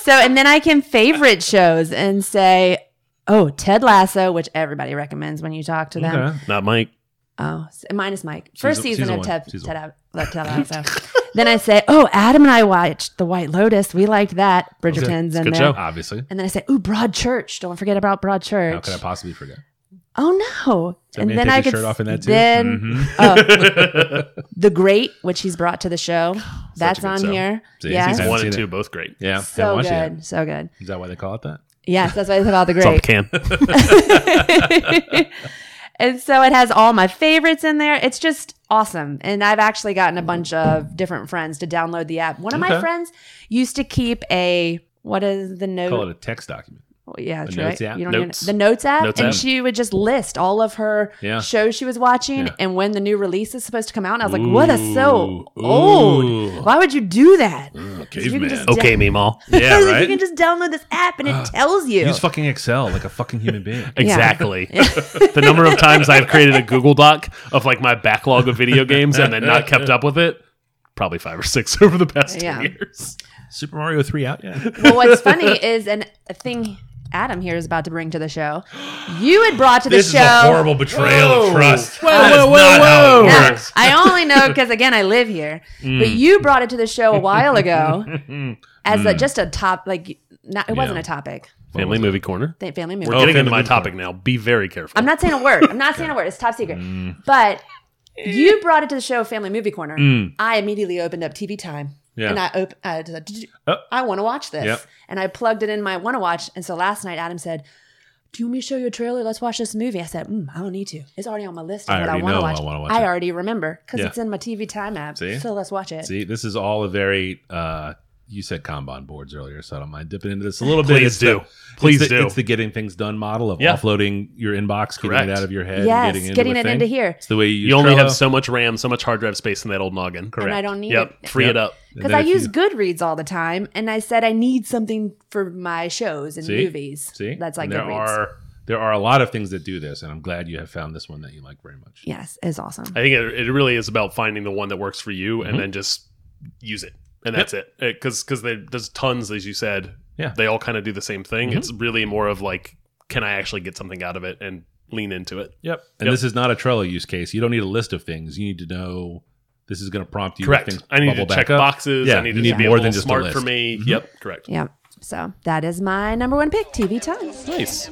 [SPEAKER 3] So, and then I can favorite shows and say, oh, Ted Lasso, which everybody recommends when you talk to them.
[SPEAKER 8] okay.
[SPEAKER 7] Not Mike.
[SPEAKER 3] Oh, s- minus Mike. First
[SPEAKER 8] Season-
[SPEAKER 3] season,
[SPEAKER 8] season
[SPEAKER 3] of
[SPEAKER 8] one.
[SPEAKER 3] Ted,
[SPEAKER 8] Season
[SPEAKER 3] Ted, Ab- like
[SPEAKER 8] <laughs>
[SPEAKER 3] Ted Lasso. then I say, "Oh, Adam and I watched The White Lotus. We liked that. Bridgerton's in
[SPEAKER 8] Good
[SPEAKER 3] there."
[SPEAKER 8] show. Obviously.
[SPEAKER 3] And then I say, "Ooh, Broadchurch. Don't forget about Broadchurch."
[SPEAKER 8] How could I possibly forget?
[SPEAKER 3] oh no!
[SPEAKER 8] Does that man take his shirt off in that too?
[SPEAKER 3] Then
[SPEAKER 8] Mhm.
[SPEAKER 3] oh,
[SPEAKER 8] <laughs>
[SPEAKER 3] The Great, which he's brought to the show, that's
[SPEAKER 7] good
[SPEAKER 3] on
[SPEAKER 7] show.
[SPEAKER 3] here.
[SPEAKER 8] See,
[SPEAKER 3] yes,
[SPEAKER 8] Haven't
[SPEAKER 7] One and
[SPEAKER 8] seen
[SPEAKER 7] two
[SPEAKER 8] it.
[SPEAKER 7] both great.
[SPEAKER 8] Yeah. haven't
[SPEAKER 3] so
[SPEAKER 8] watched it yet.
[SPEAKER 3] good, so good.
[SPEAKER 8] Is that why they call it that?
[SPEAKER 3] Yes, that's why it's
[SPEAKER 8] <laughs>
[SPEAKER 3] about The
[SPEAKER 7] It's all
[SPEAKER 3] Great.
[SPEAKER 7] can.
[SPEAKER 3] and so it has all my favorites in there. It's just awesome. And I've actually gotten a bunch of different friends to download the app. One of
[SPEAKER 8] Okay.
[SPEAKER 3] my friends used to keep a what is the note?
[SPEAKER 8] Call it a text
[SPEAKER 3] <laughs>
[SPEAKER 8] document.
[SPEAKER 3] Well, yeah, that's
[SPEAKER 8] a
[SPEAKER 3] right.
[SPEAKER 8] notes app?
[SPEAKER 3] You don't
[SPEAKER 7] Notes.
[SPEAKER 3] Even, the notes app,
[SPEAKER 7] Notes
[SPEAKER 3] and
[SPEAKER 7] app.
[SPEAKER 3] she would just list all of her
[SPEAKER 8] Yeah.
[SPEAKER 3] shows she was watching
[SPEAKER 8] Yeah.
[SPEAKER 3] and when the new release is supposed to come out. And I was like, what is so
[SPEAKER 8] Ooh. Ooh.
[SPEAKER 3] old? Why would you do that?
[SPEAKER 8] Caveman.
[SPEAKER 3] just-
[SPEAKER 7] okay, Meemaw.
[SPEAKER 8] yeah.
[SPEAKER 3] Like, <laughs> You
[SPEAKER 8] Right.
[SPEAKER 3] can just download this app and
[SPEAKER 8] <gasps>
[SPEAKER 3] it tells you.
[SPEAKER 8] Use fucking Excel like a fucking human
[SPEAKER 7] <laughs>
[SPEAKER 8] being.
[SPEAKER 3] <laughs>
[SPEAKER 7] Exactly. the number of times I've created a Google Doc of like my backlog of video games and then not kept up with it, probably five or six <laughs> over the past
[SPEAKER 3] Yeah.
[SPEAKER 7] 10 years.
[SPEAKER 8] Super Mario Three out yet?
[SPEAKER 3] well, what's funny is an, a thing Adam here is about to bring to the show. You had brought to
[SPEAKER 8] <laughs>
[SPEAKER 3] the
[SPEAKER 8] This
[SPEAKER 3] show.
[SPEAKER 8] is a horrible betrayal of trust.
[SPEAKER 7] Whoa,
[SPEAKER 8] That is
[SPEAKER 7] whoa, whoa,
[SPEAKER 8] not how it
[SPEAKER 3] No,
[SPEAKER 8] works. Mm. <laughs>
[SPEAKER 3] I only know because again I live here. But you brought it to the show a while ago, as
[SPEAKER 8] Mm.
[SPEAKER 3] a, just a top like not it wasn't
[SPEAKER 7] Yeah.
[SPEAKER 3] a topic.
[SPEAKER 7] Family movie corner.
[SPEAKER 3] Th- Family movie.
[SPEAKER 7] We're getting
[SPEAKER 2] family
[SPEAKER 7] into my
[SPEAKER 2] movie
[SPEAKER 7] topic now. Be very careful.
[SPEAKER 3] I'm not saying a word. I'm not saying a word. It's top secret.
[SPEAKER 2] Mm.
[SPEAKER 3] But you brought it to the show Family Movie Corner. I immediately opened up TV Time.
[SPEAKER 2] Mm. Yeah.
[SPEAKER 3] And I op- I, just, "Did you-
[SPEAKER 2] Oh.
[SPEAKER 3] I want to watch this.
[SPEAKER 2] Yep.
[SPEAKER 3] And I plugged it in my want to watch. And so last night, Adam said, Do you want me to show you a trailer? Let's watch this movie. I said, mm, I don't need to. It's already on my list of
[SPEAKER 2] I
[SPEAKER 3] what I
[SPEAKER 2] already
[SPEAKER 3] want to
[SPEAKER 2] know I
[SPEAKER 3] watch.
[SPEAKER 2] wanna watch
[SPEAKER 3] I
[SPEAKER 2] it.
[SPEAKER 3] already remember because
[SPEAKER 2] Yeah.
[SPEAKER 3] it's in my TV Time app.
[SPEAKER 2] See?
[SPEAKER 3] So let's watch it.
[SPEAKER 2] <laughs> See, this is all a very. uh You said Kanban boards earlier, so I don't mind dipping into this a little bit.
[SPEAKER 7] Please
[SPEAKER 2] It's the-
[SPEAKER 7] do.
[SPEAKER 2] it's
[SPEAKER 7] Please
[SPEAKER 2] the-
[SPEAKER 7] do.
[SPEAKER 2] It's the getting things done model of
[SPEAKER 7] Yeah.
[SPEAKER 2] offloading your inbox,
[SPEAKER 7] Correct.
[SPEAKER 2] getting it out of your head, and
[SPEAKER 3] Yes,
[SPEAKER 2] getting, into
[SPEAKER 3] getting
[SPEAKER 2] a
[SPEAKER 3] it
[SPEAKER 2] thing.
[SPEAKER 3] into here.
[SPEAKER 2] It's the way you.
[SPEAKER 7] you only have
[SPEAKER 2] Trello.
[SPEAKER 7] so much RAM, so much hard drive space in that old noggin. Correct.
[SPEAKER 3] I don't need
[SPEAKER 7] yep.
[SPEAKER 3] it.
[SPEAKER 7] Free
[SPEAKER 2] Yep.
[SPEAKER 7] it up.
[SPEAKER 2] And
[SPEAKER 3] Because
[SPEAKER 2] then
[SPEAKER 3] I
[SPEAKER 2] if you-
[SPEAKER 3] use Goodreads all the time, and I said I need something for my shows and
[SPEAKER 2] See?
[SPEAKER 3] movies.
[SPEAKER 2] See,
[SPEAKER 3] that's like
[SPEAKER 2] And there
[SPEAKER 3] Goodreads.
[SPEAKER 2] are there are a lot of things that do this, and I'm glad you have found this one that you like very much.
[SPEAKER 3] yes, it's awesome.
[SPEAKER 7] I think it, it really is about finding the one that works for you
[SPEAKER 2] Mm-hmm.
[SPEAKER 7] and then just use it. And that's it. Because because there's tons, as you said.
[SPEAKER 2] Yeah. Mm-hmm.
[SPEAKER 7] They all kind of do the same thing. It's really more of like, can I actually get something out of it and lean into it?
[SPEAKER 2] Yep. And
[SPEAKER 7] Yep.
[SPEAKER 2] this is not a Trello use case. You don't need a list of things. You need to know this is going to prompt you. with
[SPEAKER 7] Correct.
[SPEAKER 2] Things
[SPEAKER 7] I need to
[SPEAKER 2] bubble
[SPEAKER 7] check
[SPEAKER 2] back up.
[SPEAKER 7] boxes.
[SPEAKER 2] Yeah,
[SPEAKER 7] I need
[SPEAKER 2] you
[SPEAKER 7] to
[SPEAKER 2] need
[SPEAKER 7] be
[SPEAKER 2] more
[SPEAKER 7] a
[SPEAKER 2] than
[SPEAKER 7] little
[SPEAKER 2] just a
[SPEAKER 7] smart
[SPEAKER 2] list.
[SPEAKER 7] for
[SPEAKER 2] Mm-hmm.
[SPEAKER 7] me. Yep. Correct.
[SPEAKER 3] Yeah. So that is my number one pick, TV Time.
[SPEAKER 7] Nice.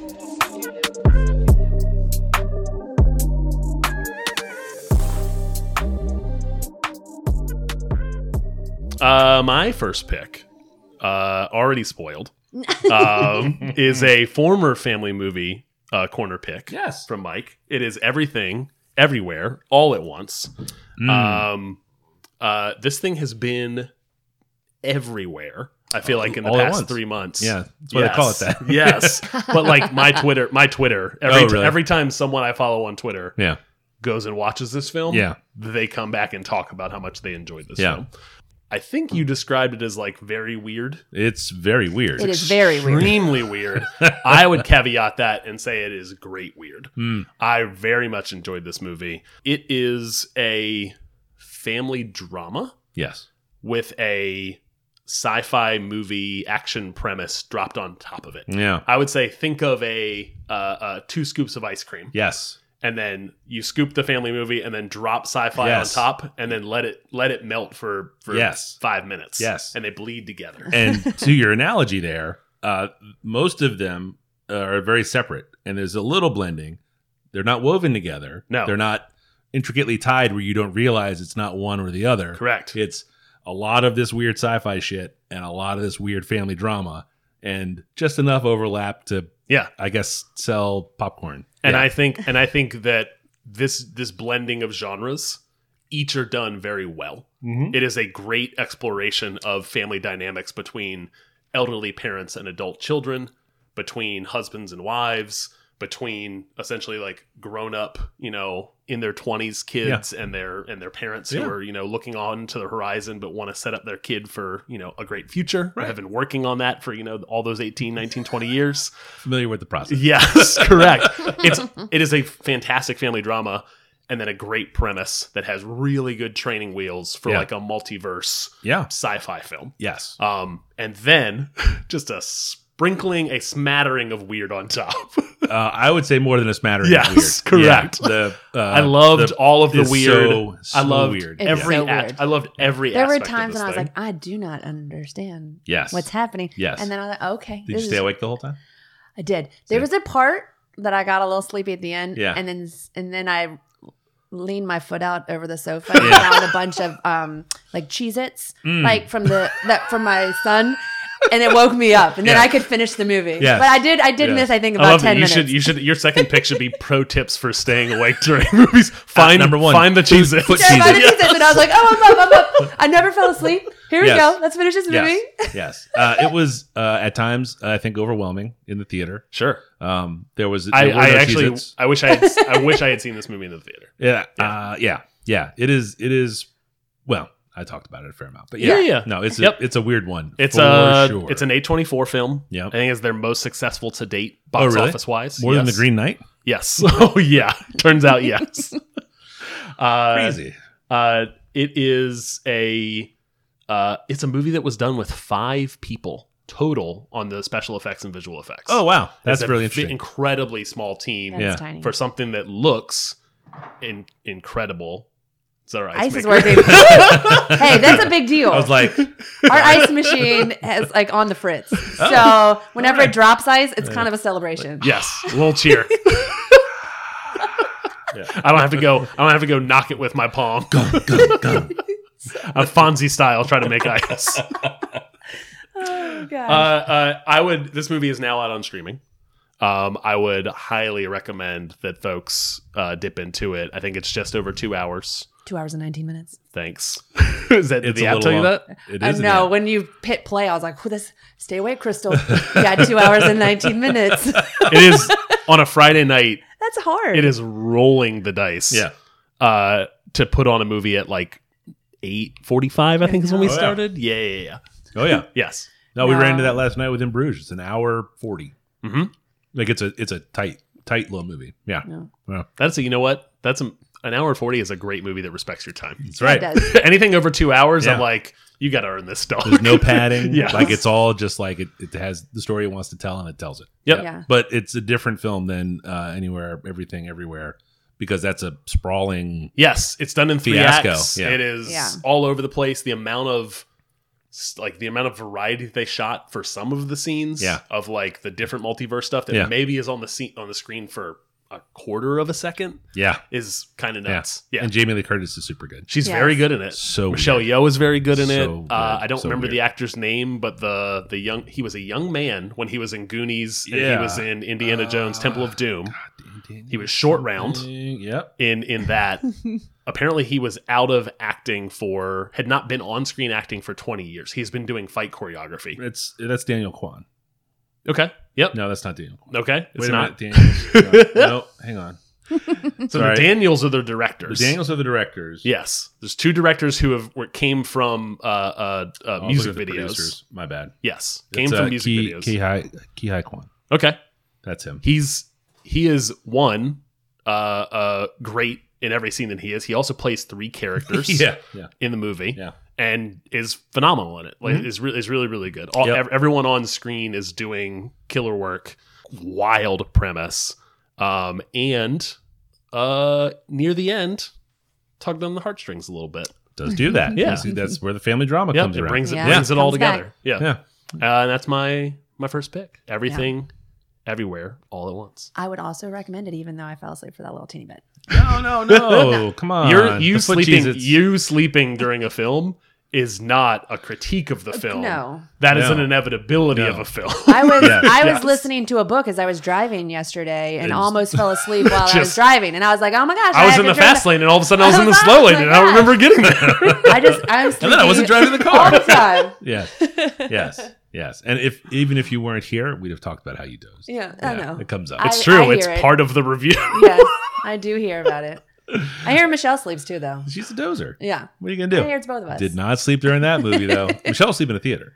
[SPEAKER 7] Uh, my first pick, uh, already spoiled, um, is a former family movie uh, corner pick.
[SPEAKER 2] Yes.
[SPEAKER 7] from Mike. It is everything, everywhere, all at once.
[SPEAKER 2] Mm.
[SPEAKER 7] Um, uh, this thing has been everywhere. I feel like in the
[SPEAKER 2] All at
[SPEAKER 7] past
[SPEAKER 2] once.
[SPEAKER 7] three months.
[SPEAKER 2] Yeah, that's why they call it that.
[SPEAKER 7] yes, but like
[SPEAKER 3] <laughs>
[SPEAKER 7] my Twitter, my Twitter. Every
[SPEAKER 2] Oh, really?
[SPEAKER 7] every time someone I follow on Twitter
[SPEAKER 2] Yeah.
[SPEAKER 7] goes and watches this film,
[SPEAKER 2] Yeah.
[SPEAKER 7] they come back and talk about how much they enjoyed this
[SPEAKER 2] Yeah.
[SPEAKER 7] film. I think you described it as like very weird.
[SPEAKER 2] It's very weird.
[SPEAKER 3] It is very weird.
[SPEAKER 7] Extremely
[SPEAKER 2] <laughs>
[SPEAKER 7] weird. I would caveat that and say it is great weird.
[SPEAKER 2] Hmm.
[SPEAKER 7] I very much enjoyed this movie. It is a family drama
[SPEAKER 2] Yes.
[SPEAKER 7] with a sci-fi movie action premise dropped on top of it.
[SPEAKER 2] Yeah.
[SPEAKER 7] I would say think of a uh, uh, two scoops of ice cream,
[SPEAKER 2] Yes.
[SPEAKER 7] and then you scoop the family movie, and then drop sci-fi
[SPEAKER 2] Yes.
[SPEAKER 7] on top, and then let it let it melt for for
[SPEAKER 2] Yes.
[SPEAKER 7] five minutes.
[SPEAKER 2] Yes.
[SPEAKER 7] and they bleed together.
[SPEAKER 2] And to your analogy there, uh, most of them are very separate, and there's a little blending. They're not woven together.
[SPEAKER 7] No.
[SPEAKER 2] They're not intricately tied where you don't realize it's not one or the other.
[SPEAKER 7] Correct.
[SPEAKER 2] It's a lot of this weird sci-fi shit and a lot of this weird family drama, and just enough overlap to,
[SPEAKER 7] yeah,
[SPEAKER 2] I guess, sell popcorn.
[SPEAKER 7] and I think and I think that this this blending of genres each are done very well. It is a great exploration of family dynamics between elderly parents and adult children, between husbands and wives, between essentially like grown up, you know, in their 20s kids and their and their parents
[SPEAKER 2] Yeah.
[SPEAKER 7] who are, you know, looking on to the horizon but want to set up their kid for, you know, a great future. Have been working on that for, you know, all those 18, 19, 20 years.
[SPEAKER 2] familiar with
[SPEAKER 7] <laughs>
[SPEAKER 2] the process. <laughs>
[SPEAKER 7] Yes, correct. It's it is a fantastic family drama and then a great premise that has really good training wheels for
[SPEAKER 2] Yeah.
[SPEAKER 7] like a multiverse
[SPEAKER 2] Yeah.
[SPEAKER 7] sci-fi film.
[SPEAKER 2] Yes.
[SPEAKER 7] Um and then <laughs> just a sprinkling a smattering of weird on top.
[SPEAKER 2] Uh, I would say more than a smattering. of
[SPEAKER 7] Yes,
[SPEAKER 2] weird.
[SPEAKER 7] correct.
[SPEAKER 2] the, uh,
[SPEAKER 7] I loved
[SPEAKER 2] the-
[SPEAKER 7] all of the
[SPEAKER 2] is
[SPEAKER 7] weird.
[SPEAKER 2] so- so
[SPEAKER 7] I loved
[SPEAKER 2] weird.
[SPEAKER 3] It's
[SPEAKER 7] every
[SPEAKER 3] so
[SPEAKER 7] act-
[SPEAKER 3] weird.
[SPEAKER 7] I loved every
[SPEAKER 3] There were
[SPEAKER 7] aspect of
[SPEAKER 3] times
[SPEAKER 7] this
[SPEAKER 3] when I was
[SPEAKER 7] thing.
[SPEAKER 3] like, I do not understand
[SPEAKER 2] Yes.
[SPEAKER 3] what's happening.
[SPEAKER 2] Yes.
[SPEAKER 3] And then I was like, okay.
[SPEAKER 2] Did
[SPEAKER 3] this
[SPEAKER 2] you stay
[SPEAKER 3] is-
[SPEAKER 2] awake the whole time?
[SPEAKER 3] I did. There was a part that I got a little sleepy at the end.
[SPEAKER 2] Yeah.
[SPEAKER 3] And then and then I leaned my foot out over the sofa and found a bunch of um like Cheez Its, like from the that from my son. And it woke me up. And then
[SPEAKER 2] Yeah.
[SPEAKER 3] I could finish the movie.
[SPEAKER 2] Yes.
[SPEAKER 3] But I did I did
[SPEAKER 2] Yeah.
[SPEAKER 3] miss I think
[SPEAKER 7] I
[SPEAKER 3] about
[SPEAKER 7] love
[SPEAKER 3] ten
[SPEAKER 7] that you
[SPEAKER 3] minutes.
[SPEAKER 7] should you should your
[SPEAKER 3] <laughs>
[SPEAKER 7] second pick should be pro tips for staying awake during movies. Find
[SPEAKER 2] number one,
[SPEAKER 7] find the
[SPEAKER 2] food-
[SPEAKER 7] cheese.
[SPEAKER 3] <laughs>
[SPEAKER 2] foot
[SPEAKER 3] Yeah, I
[SPEAKER 2] Cheez-Its.
[SPEAKER 3] found the Cheez-Its and I was like, oh, I'm up, I'm up. I never fell asleep. Here we
[SPEAKER 2] Yes.
[SPEAKER 3] go. Let's finish this movie.
[SPEAKER 2] Yes. yes. Uh, it was uh, at times I think overwhelming in the theater.
[SPEAKER 7] Sure.
[SPEAKER 2] Um, there was there
[SPEAKER 7] I,
[SPEAKER 2] were
[SPEAKER 7] I
[SPEAKER 2] no
[SPEAKER 7] actually
[SPEAKER 2] Cheez-Its.
[SPEAKER 7] I wish I had, I wish I had seen this movie in the
[SPEAKER 2] <laughs>
[SPEAKER 7] theater.
[SPEAKER 2] yeah yeah. Uh, yeah yeah it is it is well I talked about it a fair amount but yeah,
[SPEAKER 7] Yeah, yeah.
[SPEAKER 2] no it's a,
[SPEAKER 7] Yep.
[SPEAKER 2] it's a weird one
[SPEAKER 7] It's
[SPEAKER 2] for
[SPEAKER 7] a
[SPEAKER 2] sure.
[SPEAKER 7] it's an A twenty four film.
[SPEAKER 2] Yep. Oh,
[SPEAKER 7] I think it's their most successful to date box
[SPEAKER 2] really?
[SPEAKER 7] office wise.
[SPEAKER 2] more than the Green Knight
[SPEAKER 7] Yes. <laughs> Oh yeah. Turns out yes. uh,
[SPEAKER 2] <laughs> crazy
[SPEAKER 7] Uh, it is a uh, it's a movie that was done with five people total on the special effects and visual effects.
[SPEAKER 2] oh wow that's
[SPEAKER 7] It's a
[SPEAKER 2] really
[SPEAKER 7] fi-
[SPEAKER 2] interesting
[SPEAKER 7] Incredibly small team
[SPEAKER 2] Yeah.
[SPEAKER 3] tiny.
[SPEAKER 7] for something that looks in- incredible It's our ice,
[SPEAKER 3] Ice is
[SPEAKER 7] maker.
[SPEAKER 2] <laughs>
[SPEAKER 3] working. hey, that's a big deal.
[SPEAKER 2] I was like, <laughs>
[SPEAKER 3] Our ice machine has like on the fritz.
[SPEAKER 2] Oh.
[SPEAKER 3] So whenever it drops ice, it's kind of a celebration.
[SPEAKER 7] Yes, a little <laughs> cheer. I don't have to go. I don't have to go knock it with my palm.
[SPEAKER 2] go, go, go.
[SPEAKER 7] A Fonzie style, try to make ice.
[SPEAKER 3] Oh,
[SPEAKER 7] <laughs> uh,
[SPEAKER 3] gosh.
[SPEAKER 7] uh, I would. This movie is now out on streaming. Um, I would highly recommend that folks uh, dip into it. I think it's just over two hours.
[SPEAKER 3] Two hours and 19 minutes.
[SPEAKER 7] Thanks. <laughs> is that did
[SPEAKER 2] It's
[SPEAKER 7] the
[SPEAKER 2] a
[SPEAKER 7] app
[SPEAKER 2] little
[SPEAKER 7] tell you
[SPEAKER 2] long.
[SPEAKER 7] that? Uh,
[SPEAKER 2] It
[SPEAKER 3] I
[SPEAKER 2] is. an
[SPEAKER 3] know.
[SPEAKER 2] app.
[SPEAKER 3] When you hit play, I was like, "Whew, this, stay
[SPEAKER 2] <laughs>
[SPEAKER 3] away, Crystal. yeah, two hours and 19
[SPEAKER 7] <laughs>
[SPEAKER 3] minutes.
[SPEAKER 7] it is on a Friday night.
[SPEAKER 3] That's hard.
[SPEAKER 7] It is rolling the dice.
[SPEAKER 2] Yeah.
[SPEAKER 7] Uh, to put on a movie at like eight forty-five, I think is when we
[SPEAKER 2] Oh, yeah.
[SPEAKER 7] started. Yeah, yeah, yeah.
[SPEAKER 2] Oh yeah.
[SPEAKER 7] Yes.
[SPEAKER 2] No, we ran
[SPEAKER 3] No.
[SPEAKER 2] into that last night with In Bruges. It's an hour 40
[SPEAKER 7] hmm
[SPEAKER 2] Like it's a it's a tight tight little movie. Yeah,
[SPEAKER 3] No.
[SPEAKER 7] That's a, you know what? That's a, an hour forty is a great movie that respects your time.
[SPEAKER 2] that's
[SPEAKER 3] Yeah, it
[SPEAKER 2] right.
[SPEAKER 3] does.
[SPEAKER 7] <laughs>
[SPEAKER 3] <laughs>
[SPEAKER 7] Anything over two hours,
[SPEAKER 2] Yeah.
[SPEAKER 7] I'm like, you got to earn this dog.
[SPEAKER 2] There's no padding.
[SPEAKER 7] Yeah.
[SPEAKER 2] like it's all just like it, it has the story it wants to tell and it tells it.
[SPEAKER 7] Yep.
[SPEAKER 3] Yeah.
[SPEAKER 2] But it's a different film than uh, anywhere, everything, everywhere, because that's a sprawling.
[SPEAKER 7] <laughs> Yes, it's done in three
[SPEAKER 2] Fiasco.
[SPEAKER 7] acts.
[SPEAKER 2] Yeah.
[SPEAKER 7] It is
[SPEAKER 3] Yeah.
[SPEAKER 7] all over the place. The amount of s- like the amount of variety they shot for some of the scenes
[SPEAKER 2] Yeah.
[SPEAKER 7] of like the different multiverse stuff that
[SPEAKER 2] Yeah.
[SPEAKER 7] maybe is on the scene on the screen for a quarter of a second
[SPEAKER 2] Yeah.
[SPEAKER 7] is kind of nuts. Yeah.
[SPEAKER 2] And Jamie Lee Curtis is super good.
[SPEAKER 7] She's
[SPEAKER 3] Yes.
[SPEAKER 7] very good in it.
[SPEAKER 2] So
[SPEAKER 7] Michelle
[SPEAKER 2] weird.
[SPEAKER 7] Yeoh is very good in it.
[SPEAKER 2] So
[SPEAKER 7] Uh,
[SPEAKER 2] good.
[SPEAKER 7] I don't
[SPEAKER 2] So
[SPEAKER 7] remember
[SPEAKER 2] weird.
[SPEAKER 7] the actor's name, but the the young he was a young man when he was in Goonies and
[SPEAKER 2] Yeah. Uh,
[SPEAKER 7] he was in Indiana Jones Temple of Doom.
[SPEAKER 2] Ding, ding,
[SPEAKER 7] He was short round
[SPEAKER 2] ding. Yep.
[SPEAKER 7] in in
[SPEAKER 2] <laughs>
[SPEAKER 7] that apparently he was out of acting for had not been on screen acting for 20 years he's been doing fight choreography
[SPEAKER 2] It's that's Daniel Kwan.
[SPEAKER 7] okay yep
[SPEAKER 2] No, that's not Daniel. Kwan.
[SPEAKER 7] okay it's
[SPEAKER 2] Wait
[SPEAKER 7] not <laughs>
[SPEAKER 2] a minute, Daniels. No, no, hang on.
[SPEAKER 7] so
[SPEAKER 2] Sorry.
[SPEAKER 7] the daniels are the
[SPEAKER 2] The
[SPEAKER 7] directors
[SPEAKER 2] Daniels are the directors.
[SPEAKER 7] yes there's two directors who have were, came from uh uh, uh
[SPEAKER 2] Oh,
[SPEAKER 7] music
[SPEAKER 2] look at the
[SPEAKER 7] videos
[SPEAKER 2] producers. My bad.
[SPEAKER 7] yes
[SPEAKER 2] It's,
[SPEAKER 7] came
[SPEAKER 2] uh,
[SPEAKER 7] from music
[SPEAKER 2] Ki-
[SPEAKER 7] videos
[SPEAKER 2] Ki-Hi, Ki-Hi Kwan.
[SPEAKER 7] okay
[SPEAKER 2] That's him.
[SPEAKER 7] he's he is one uh uh great in every scene that he is he also plays
[SPEAKER 2] <laughs>
[SPEAKER 7] three characters
[SPEAKER 2] Yeah.
[SPEAKER 7] in the movie
[SPEAKER 2] Yeah. Mhm.
[SPEAKER 7] and is phenomenal in it like is, re- is really really good All,
[SPEAKER 2] Yep.
[SPEAKER 7] ev- everyone on screen is doing killer work wild premise um and uh near the end tugged on the heartstrings a little bit
[SPEAKER 2] Does do that.
[SPEAKER 7] Yeah.
[SPEAKER 2] That's- That's where the family drama
[SPEAKER 7] yeah it
[SPEAKER 2] comes around.
[SPEAKER 7] brings it
[SPEAKER 3] Yeah.
[SPEAKER 7] brings it all
[SPEAKER 3] Comes back.
[SPEAKER 7] together yeah,
[SPEAKER 2] yeah.
[SPEAKER 7] Uh, and that's my my first pick everything everywhere all at once
[SPEAKER 3] I would also recommend it, even though I fell asleep for that little teeny bit.
[SPEAKER 2] No, <laughs>
[SPEAKER 3] Oh,
[SPEAKER 2] no, no. Oh, Come on.
[SPEAKER 7] You're you
[SPEAKER 2] Uh, The foot
[SPEAKER 7] sleeping
[SPEAKER 2] cheese, it's-
[SPEAKER 7] you sleeping during a film is not a critique of the film.
[SPEAKER 3] Uh, No.
[SPEAKER 7] That is
[SPEAKER 2] No.
[SPEAKER 7] an inevitability
[SPEAKER 2] No.
[SPEAKER 7] of a film. <laughs>
[SPEAKER 3] I was
[SPEAKER 2] Yes.
[SPEAKER 3] I was
[SPEAKER 7] Yes.
[SPEAKER 3] listening to a book as I was driving yesterday and
[SPEAKER 2] It's-
[SPEAKER 3] almost fell
[SPEAKER 2] <laughs>
[SPEAKER 3] asleep while I was
[SPEAKER 7] Just-
[SPEAKER 3] driving, and I was like, "Oh my gosh!"
[SPEAKER 7] I was
[SPEAKER 3] have
[SPEAKER 7] in
[SPEAKER 3] to
[SPEAKER 7] the
[SPEAKER 3] drive
[SPEAKER 7] fast lane and all of a sudden I
[SPEAKER 3] I
[SPEAKER 7] was in the
[SPEAKER 3] was like,
[SPEAKER 7] slow
[SPEAKER 3] oh
[SPEAKER 7] lane
[SPEAKER 3] my
[SPEAKER 7] and I don't
[SPEAKER 3] gosh.
[SPEAKER 7] remember getting
[SPEAKER 3] <laughs>
[SPEAKER 7] there.
[SPEAKER 3] back." I just I was
[SPEAKER 2] And then I wasn't driving the
[SPEAKER 3] all
[SPEAKER 2] car.
[SPEAKER 3] the
[SPEAKER 2] <laughs>
[SPEAKER 3] time. <laughs>
[SPEAKER 2] yeah. Yes. Yes. And if even if you weren't here, we'd have talked about how you dozed.
[SPEAKER 3] Yeah, I know.
[SPEAKER 2] It comes up.
[SPEAKER 3] I-
[SPEAKER 7] It's true. it's
[SPEAKER 3] hear it.
[SPEAKER 7] part of the review.
[SPEAKER 3] Yes, I do hear about it. I hear Michelle sleeps too, though.
[SPEAKER 2] She's a dozer.
[SPEAKER 3] Yeah,
[SPEAKER 2] What are you gonna
[SPEAKER 3] I
[SPEAKER 2] do?
[SPEAKER 3] hear it's both of us.
[SPEAKER 2] Did not sleep during that movie
[SPEAKER 3] <laughs>
[SPEAKER 2] though. Michelle sleep in a theater.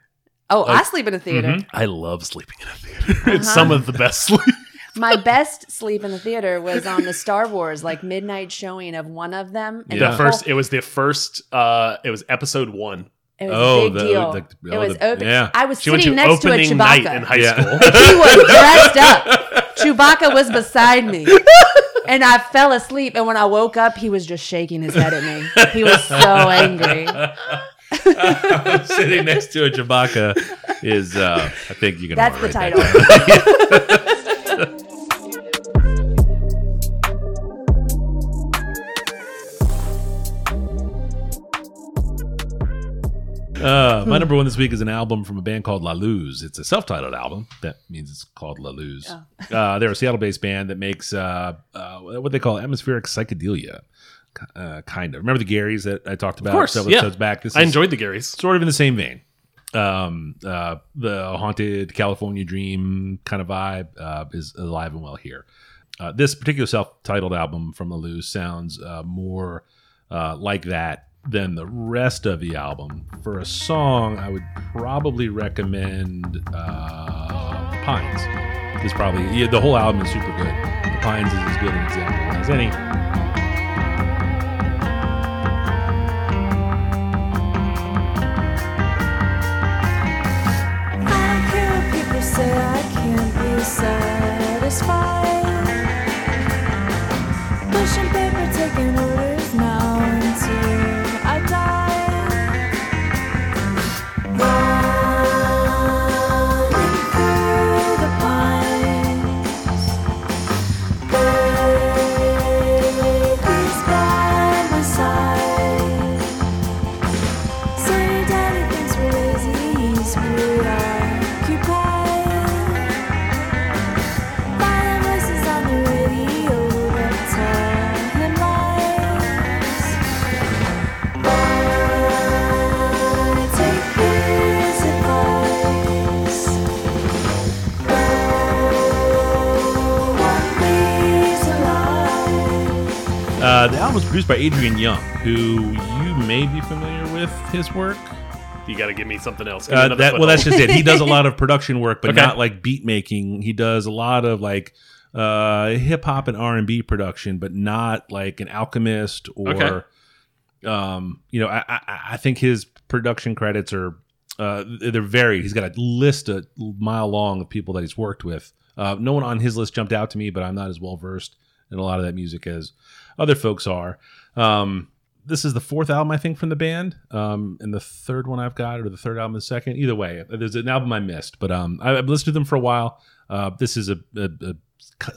[SPEAKER 3] Oh, I
[SPEAKER 2] Like-
[SPEAKER 3] sleep in a theater.
[SPEAKER 2] Mhm.
[SPEAKER 7] I love sleeping in a theater. <laughs>
[SPEAKER 3] Uh-huh.
[SPEAKER 7] It's some of the best sleep.
[SPEAKER 3] My best sleep in the theater was on the Star Wars like midnight showing of one of them.
[SPEAKER 2] Yeah.
[SPEAKER 7] The
[SPEAKER 3] whole-
[SPEAKER 7] first it was the first uh it was episode one.
[SPEAKER 3] it was
[SPEAKER 2] Oh,
[SPEAKER 3] a big
[SPEAKER 2] the-
[SPEAKER 3] deal.
[SPEAKER 2] like the-
[SPEAKER 3] it
[SPEAKER 2] oh,
[SPEAKER 3] was
[SPEAKER 2] the-
[SPEAKER 3] open.
[SPEAKER 2] yeah.
[SPEAKER 3] I was
[SPEAKER 7] She went
[SPEAKER 3] sitting
[SPEAKER 7] to
[SPEAKER 3] next to a
[SPEAKER 7] opening night in
[SPEAKER 3] Chewbacca.
[SPEAKER 7] high
[SPEAKER 2] Yeah.
[SPEAKER 7] school.
[SPEAKER 2] <laughs>
[SPEAKER 3] He was dressed up. Chewbacca was beside me. And I fell asleep, and when I woke up, he was just shaking his head at me. He was so angry.
[SPEAKER 2] <laughs> Sitting next to a Chewbacca is uh I think you can
[SPEAKER 3] That's the
[SPEAKER 2] write
[SPEAKER 3] title.
[SPEAKER 2] That <laughs> down. uh, my number one this week is an album from a band called La Luz. It's a self-titled album. That means it's called La Luz.
[SPEAKER 7] Oh.
[SPEAKER 2] Uh, they're a Seattle-based band that makes uh, uh, what they call atmospheric psychedelia. Uh, kind of. Remember the Garys that I talked about
[SPEAKER 7] course,
[SPEAKER 2] several
[SPEAKER 7] yeah.
[SPEAKER 2] episodes back? This
[SPEAKER 7] I
[SPEAKER 2] is-
[SPEAKER 7] enjoyed the Garys.
[SPEAKER 2] sort of in the same vein. Um, uh, the haunted California dream kind of vibe uh, is alive and well here. Uh, this particular self-titled album from Lou sounds uh, more uh, like that than the rest of the album. For a song, I would probably recommend uh, Pines. It's probably yeah, the whole album is super good. Pines is as good an example as any.
[SPEAKER 9] How can people say I can't be satisfied? Pushing paper, taking orders now into
[SPEAKER 2] Uh, the album was produced by Adrian Young, who you may be familiar with his work.
[SPEAKER 7] You got to give me something else. Give me
[SPEAKER 2] Uh,
[SPEAKER 7] another
[SPEAKER 2] that, well, that's
[SPEAKER 7] foothold.
[SPEAKER 2] just it. He does a
[SPEAKER 7] <laughs>
[SPEAKER 2] lot of production work, but
[SPEAKER 7] Okay.
[SPEAKER 2] not like beat making. He does a lot of like uh, hip hop and R and B production, but not like an alchemist or,
[SPEAKER 7] Okay.
[SPEAKER 2] um, you know, I, I, I think his production credits are uh, they're varied. He's got a list a mile long of people that he's worked with. Uh, no one on his list jumped out to me, but I'm not as well versed in a lot of that music as other folks are. Um, this is the fourth album I think from the band, um, and the third one I've got, or the third album, the second. Either way, there's an album I missed, but um, I, I've listened to them for a while. Uh, this is a, a, a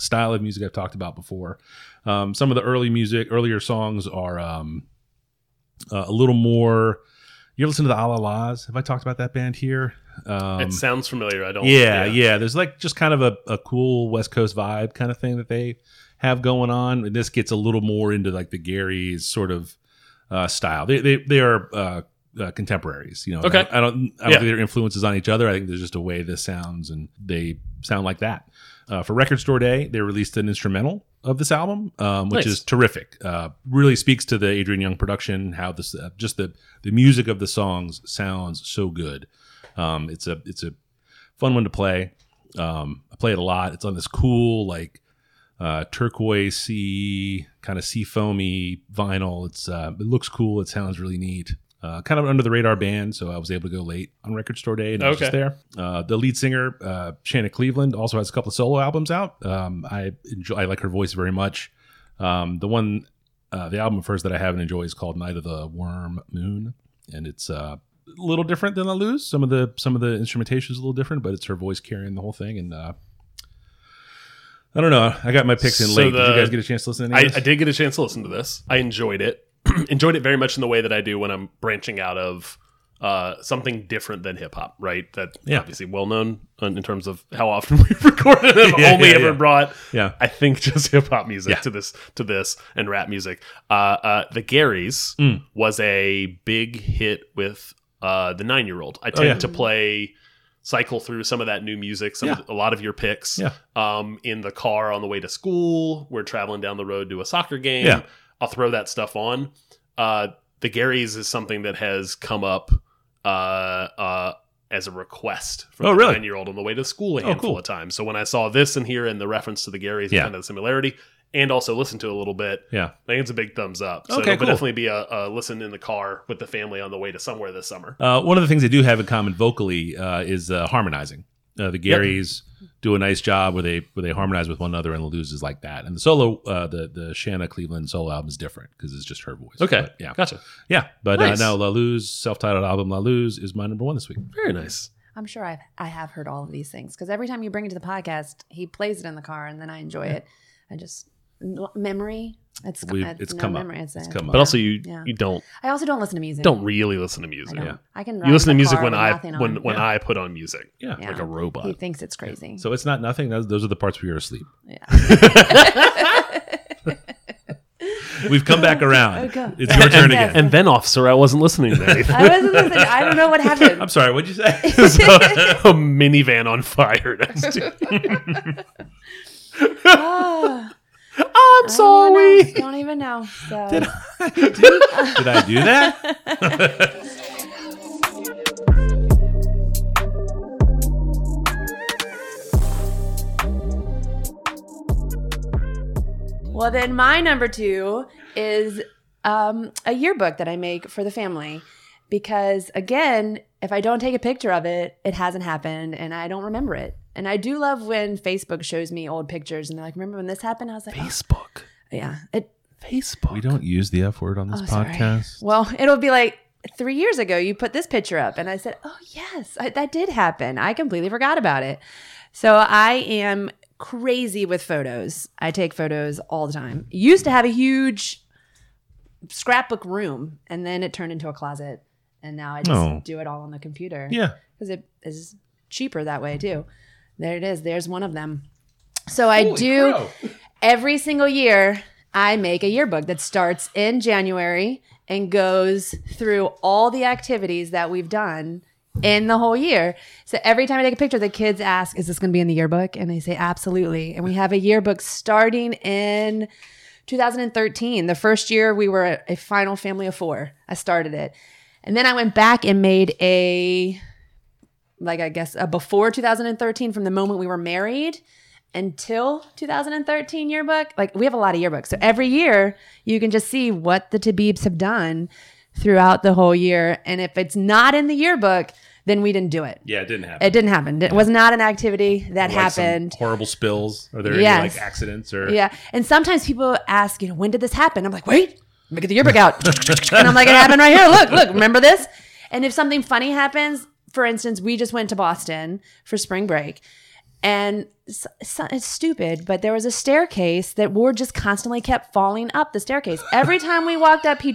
[SPEAKER 2] style of music I've talked about before. Um, some of the early music, earlier songs are um, uh, a little more. You ever listen to the Alalas? Have I talked about that band here? Um,
[SPEAKER 7] it sounds familiar. I don't.
[SPEAKER 2] yeah, yeah. There's like just kind of a, a cool West Coast vibe kind of thing that they have going on. And this gets a little more into like the Gary's sort of uh, style. They they, they are uh, uh, contemporaries. You know,
[SPEAKER 7] Okay.
[SPEAKER 2] I, I don't I don't
[SPEAKER 7] Yeah.
[SPEAKER 2] think their influences on each other. I think there's just a way this sounds, and they sound like that. Uh, for Record Store Day, they released an instrumental of this album, um, which
[SPEAKER 7] Nice.
[SPEAKER 2] is terrific. Uh, really speaks to the Adrian Young production. How this uh, just the the music of the songs sounds so good. Um, it's a it's a fun one to play. Um, I play it a lot. It's on this cool like uh, turquoise sea kind of sea foamy vinyl. It's uh, it looks cool. It sounds really neat. Uh, kind of under the radar band, so I was able to go late on record store day, and I was just
[SPEAKER 7] Okay.
[SPEAKER 2] there. Uh, the lead singer, uh, Shanna Cleveland, also has a couple of solo albums out. Um, I enjoy, I like her voice very much. Um, the one, uh, the album first that I have and enjoy is called Night of the Worm Moon, and it's uh, a little different than La Luz. Some of the some of the instrumentation is a little different, but it's her voice carrying the whole thing. And uh, I don't know. I got my picks in
[SPEAKER 7] So
[SPEAKER 2] late. Did
[SPEAKER 7] the-
[SPEAKER 2] you guys get a chance to listen to any
[SPEAKER 7] I,
[SPEAKER 2] of
[SPEAKER 7] I
[SPEAKER 2] this?
[SPEAKER 7] did get a chance to listen to this. I enjoyed it. <clears throat> enjoyed it very much in the way that I do when I'm branching out of uh, something different than hip hop, right? That
[SPEAKER 2] Yeah.
[SPEAKER 7] obviously well known uh, in in terms of how often <laughs> we've recorded and
[SPEAKER 2] <laughs> Yeah,
[SPEAKER 7] only
[SPEAKER 2] yeah,
[SPEAKER 7] ever
[SPEAKER 2] yeah.
[SPEAKER 7] brought
[SPEAKER 2] Yeah.
[SPEAKER 7] I think <laughs> just hip hop music
[SPEAKER 2] Yeah.
[SPEAKER 7] to this to this and rap music. Uh, uh, the Garys
[SPEAKER 2] Mm.
[SPEAKER 7] was a big hit with uh, the nine year old. I tend
[SPEAKER 2] Oh, yeah.
[SPEAKER 7] to play cycle through some of that new music, some of
[SPEAKER 2] Yeah.
[SPEAKER 7] the- a lot of your picks.
[SPEAKER 2] Yeah.
[SPEAKER 7] Um, in the car on the way to school, we're traveling down the road to a soccer game.
[SPEAKER 2] Yeah.
[SPEAKER 7] I'll throw that stuff on. Uh, the Garys is something that has come up uh, uh, as a request from
[SPEAKER 2] Oh,
[SPEAKER 7] the
[SPEAKER 2] really?
[SPEAKER 7] nine year old on the way to school a
[SPEAKER 2] Oh,
[SPEAKER 7] handful
[SPEAKER 2] cool.
[SPEAKER 7] of times. So when I saw this in here and the reference to the Garys
[SPEAKER 2] Yeah.
[SPEAKER 7] and kind of the similarity, and also listen to it a little bit,
[SPEAKER 2] Yeah.
[SPEAKER 7] I think it's a big thumbs up. So
[SPEAKER 2] Okay,
[SPEAKER 7] it'll
[SPEAKER 2] cool.
[SPEAKER 7] definitely be a, a listen in the car with the family on the way to somewhere this summer.
[SPEAKER 2] Uh, one of the things they do have in common vocally uh, is uh, harmonizing. Uh, the Garys do a nice job where they where they harmonize with one another and loses like that. And the solo, uh, the the Shanna Cleveland solo album is different because it's just her voice. But, yeah,
[SPEAKER 7] gotcha.
[SPEAKER 2] yeah. But
[SPEAKER 7] Nice.
[SPEAKER 2] uh, now La Luz self titled album La Luz is my number one this week.
[SPEAKER 7] Very nice.
[SPEAKER 3] I'm sure I've, I have heard all of these things because every time you bring it to the podcast, he plays it in the car and then I enjoy it. I just, m- memory. It's,
[SPEAKER 2] We-
[SPEAKER 3] it's,
[SPEAKER 2] it's
[SPEAKER 3] no
[SPEAKER 2] come up.
[SPEAKER 3] memory. It's,
[SPEAKER 2] It's come
[SPEAKER 7] But
[SPEAKER 2] up.
[SPEAKER 7] also, you
[SPEAKER 3] Yeah.
[SPEAKER 7] you don't
[SPEAKER 3] I also don't listen to music.
[SPEAKER 7] don't really listen to
[SPEAKER 3] I
[SPEAKER 7] music.
[SPEAKER 3] don't.
[SPEAKER 2] yeah.
[SPEAKER 3] I can ride
[SPEAKER 7] You listen to
[SPEAKER 3] in the
[SPEAKER 7] music
[SPEAKER 3] car
[SPEAKER 7] when
[SPEAKER 3] with
[SPEAKER 7] I
[SPEAKER 3] nothing
[SPEAKER 7] when
[SPEAKER 3] on.
[SPEAKER 7] when I put on music.
[SPEAKER 2] Yeah.
[SPEAKER 3] Yeah.
[SPEAKER 7] like a
[SPEAKER 3] He
[SPEAKER 7] robot.
[SPEAKER 3] thinks it's crazy.
[SPEAKER 2] So it's not nothing. Those, those are the parts where you're asleep. <laughs> We've come back around.
[SPEAKER 3] Okay.
[SPEAKER 2] It's your turn
[SPEAKER 3] Yes.
[SPEAKER 2] again.
[SPEAKER 7] And then, officer, I wasn't listening to
[SPEAKER 3] <laughs>
[SPEAKER 7] anything. <laughs>
[SPEAKER 3] I wasn't listening. I don't <laughs> know what happened.
[SPEAKER 2] I'm sorry. What'd you say? <laughs>
[SPEAKER 7] There's a, a minivan on fire next to
[SPEAKER 3] <laughs>
[SPEAKER 7] you.
[SPEAKER 3] Ah,
[SPEAKER 7] <laughs> I'm
[SPEAKER 3] I
[SPEAKER 7] sorry.
[SPEAKER 3] <laughs> Don't even know. So
[SPEAKER 2] Did I do that?
[SPEAKER 3] Well, then my number two is um, a yearbook that I make for the family because, again, if I don't take a picture of it, it hasn't happened and I don't remember it. And I do love when Facebook shows me old pictures and they're like, remember when this happened? I was like, oh,
[SPEAKER 7] Facebook.
[SPEAKER 3] yeah. It,
[SPEAKER 7] Facebook.
[SPEAKER 2] We don't use the F word on this
[SPEAKER 3] Oh, sorry.
[SPEAKER 2] podcast.
[SPEAKER 3] well, it'll be like, three years ago, you put this picture up. And I said, oh, yes, I, that did happen. I completely forgot about it. So I am crazy with photos. I take photos all the time. Used to have a huge scrapbook room, and then it turned into a closet. And now I just
[SPEAKER 2] Oh.
[SPEAKER 3] do it all on the computer.
[SPEAKER 2] Yeah.
[SPEAKER 3] Because it is cheaper that way, too. There it is. There's one of them. So I do every single year, I make a yearbook that starts in January and goes through all the activities that we've done in the whole year. So every time I take a picture, the kids ask, Is this going to be in the yearbook? And they say, Absolutely. And we have a yearbook starting in 2013, the first year we were a final family of four. I started it. And then I went back and made a, like, I guess, a before 2013 from the moment we were married until 2013 yearbook. Like, we have a lot of yearbooks. So every year you can just see what the Tabibs have done throughout the whole year. And if it's not in the yearbook, then we didn't do it.
[SPEAKER 2] Yeah, it didn't happen.
[SPEAKER 3] It didn't happen. It was not an activity that
[SPEAKER 2] Like some
[SPEAKER 3] happened.
[SPEAKER 2] horrible spills. Are there any
[SPEAKER 3] Yes.
[SPEAKER 2] like accidents or
[SPEAKER 3] Yeah. And sometimes people ask, you know, when did this happen? I'm like, wait, look at the yearbook out. <laughs> and I'm like, it happened right here. Look, look, remember this? And if something funny happens, for instance, we just went to Boston for spring break. And s- s- it's stupid, but there was a staircase that Ward just constantly kept falling up the staircase. Every time we walked up, he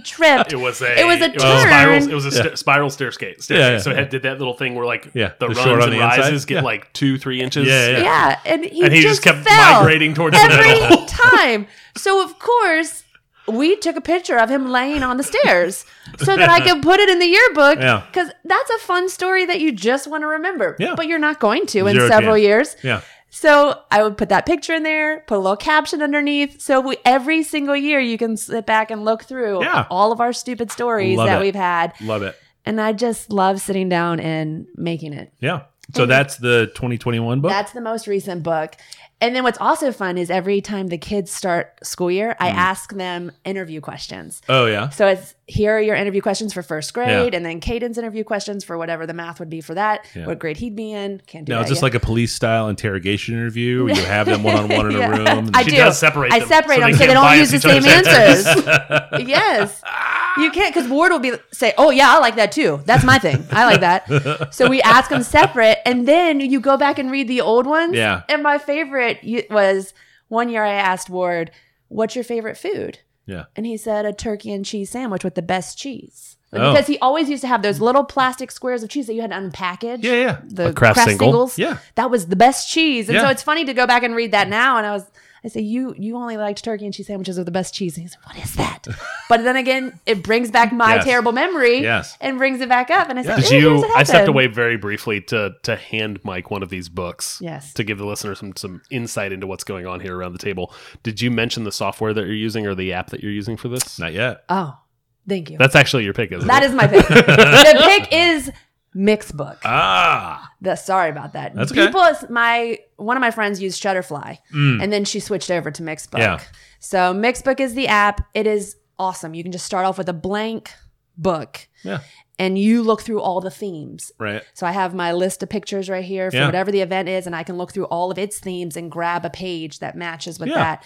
[SPEAKER 7] <laughs>
[SPEAKER 3] tripped.
[SPEAKER 7] It was a
[SPEAKER 3] it was a
[SPEAKER 7] spiral.
[SPEAKER 3] turn.
[SPEAKER 7] It was a sta- spiral staircase. staircase.
[SPEAKER 2] Yeah, yeah,
[SPEAKER 7] so it had, did that little thing where like
[SPEAKER 2] Yeah,
[SPEAKER 7] the
[SPEAKER 2] the
[SPEAKER 7] runs
[SPEAKER 2] short
[SPEAKER 7] and
[SPEAKER 2] on the inside.
[SPEAKER 7] rises get
[SPEAKER 2] Yeah.
[SPEAKER 7] like two, three inches.
[SPEAKER 2] Yeah, yeah,
[SPEAKER 3] yeah, and he,
[SPEAKER 7] And he just
[SPEAKER 3] just,
[SPEAKER 7] kept
[SPEAKER 3] fell.
[SPEAKER 7] migrating towards the
[SPEAKER 3] every
[SPEAKER 7] middle.
[SPEAKER 3] <laughs> time. So of course, we took a picture of him laying on the stairs so that I could put it in the yearbook
[SPEAKER 2] Yeah.
[SPEAKER 3] because that's a fun story that you just want to remember.
[SPEAKER 2] Yeah.
[SPEAKER 3] But you're not going to in
[SPEAKER 2] Zero
[SPEAKER 3] several
[SPEAKER 2] chance.
[SPEAKER 3] years.
[SPEAKER 2] Yeah.
[SPEAKER 3] So I would put that picture in there, put a little caption underneath. So we, every single year, you can sit back and look through
[SPEAKER 2] Yeah.
[SPEAKER 3] all of our stupid stories
[SPEAKER 2] Love
[SPEAKER 3] that
[SPEAKER 2] it.
[SPEAKER 3] we've had.
[SPEAKER 2] Love it.
[SPEAKER 3] And I just love sitting down and making it.
[SPEAKER 2] Yeah. So that's the 2021 book.
[SPEAKER 3] That's the most recent book. And then what's also fun is every time the kids start school year,
[SPEAKER 2] Mm-hmm.
[SPEAKER 3] I ask them interview questions.
[SPEAKER 2] oh yeah.
[SPEAKER 3] So it's here are your interview questions for first grade,
[SPEAKER 2] Yeah.
[SPEAKER 3] and then Caden's interview questions for whatever the math would be for that,
[SPEAKER 2] Yeah.
[SPEAKER 3] what grade he'd be in. Can't do
[SPEAKER 2] Now
[SPEAKER 3] that.
[SPEAKER 2] it's just like
[SPEAKER 3] yet.
[SPEAKER 2] a police style interrogation interview where you have
[SPEAKER 3] <laughs>
[SPEAKER 2] them one on one in a
[SPEAKER 3] Yeah.
[SPEAKER 2] room. and
[SPEAKER 3] I
[SPEAKER 7] She
[SPEAKER 3] do.
[SPEAKER 7] does separate
[SPEAKER 3] I
[SPEAKER 7] them,
[SPEAKER 3] separate
[SPEAKER 7] so
[SPEAKER 3] them
[SPEAKER 7] they
[SPEAKER 3] so they
[SPEAKER 7] can't
[SPEAKER 3] don't
[SPEAKER 7] bias
[SPEAKER 3] use the
[SPEAKER 7] each other's
[SPEAKER 3] same answers.
[SPEAKER 7] <laughs>
[SPEAKER 3] yes, you can't because Ward will be say, "Oh yeah, I like that too. That's my thing. I like that." So we ask them separate, and then you go back and read the old ones.
[SPEAKER 2] Yeah.
[SPEAKER 3] And my favorite y- was one year I asked Ward, "What's your favorite food?"
[SPEAKER 2] Yeah.
[SPEAKER 3] And he said a turkey and cheese sandwich with the best cheese.
[SPEAKER 2] Oh.
[SPEAKER 3] Because he always used to have those little plastic squares of cheese that you had to unpackage.
[SPEAKER 2] Yeah, yeah.
[SPEAKER 3] The
[SPEAKER 7] A Kraft
[SPEAKER 3] Kraft,
[SPEAKER 7] single.
[SPEAKER 3] singles.
[SPEAKER 2] Yeah.
[SPEAKER 3] That was the best cheese. And so
[SPEAKER 2] Yeah.
[SPEAKER 3] it's funny to go back and read that now. And I was, I say, you you only liked turkey and cheese sandwiches with the best cheese. And he's like, what is
[SPEAKER 2] <laughs>
[SPEAKER 3] that? but then again, it brings back my
[SPEAKER 2] Yes.
[SPEAKER 3] terrible memory
[SPEAKER 2] Yes.
[SPEAKER 3] and brings it back up. And I said,
[SPEAKER 7] Did
[SPEAKER 3] "Eh,
[SPEAKER 7] you?
[SPEAKER 3] here's what
[SPEAKER 7] I stepped
[SPEAKER 3] happened."
[SPEAKER 7] away very briefly to to hand Mike one of these books.
[SPEAKER 3] Yes.
[SPEAKER 7] To give the listener some some insight into what's going on here around the table. Did you mention the software that you're using or the app that you're using for this?
[SPEAKER 2] Not yet.
[SPEAKER 3] Oh, thank you.
[SPEAKER 7] That's actually your pick, isn't
[SPEAKER 3] That
[SPEAKER 7] it? <laughs>
[SPEAKER 3] is my pick. the pick is Mixbook.
[SPEAKER 2] Ah.
[SPEAKER 3] The, sorry about that.
[SPEAKER 2] That's okay. Mm.
[SPEAKER 3] People, is- my one of my friends used Shutterfly, and then she switched over to Mixbook.
[SPEAKER 2] Yeah.
[SPEAKER 3] So Mixbook is the app. It is awesome. You can just start off with a blank book,
[SPEAKER 2] Yeah.
[SPEAKER 3] and you look through all the themes.
[SPEAKER 2] Right.
[SPEAKER 3] So I have my list of pictures right here for
[SPEAKER 2] Yeah.
[SPEAKER 3] whatever the event is, and I can look through all of its themes and grab a page that matches with
[SPEAKER 2] Yeah.
[SPEAKER 3] that.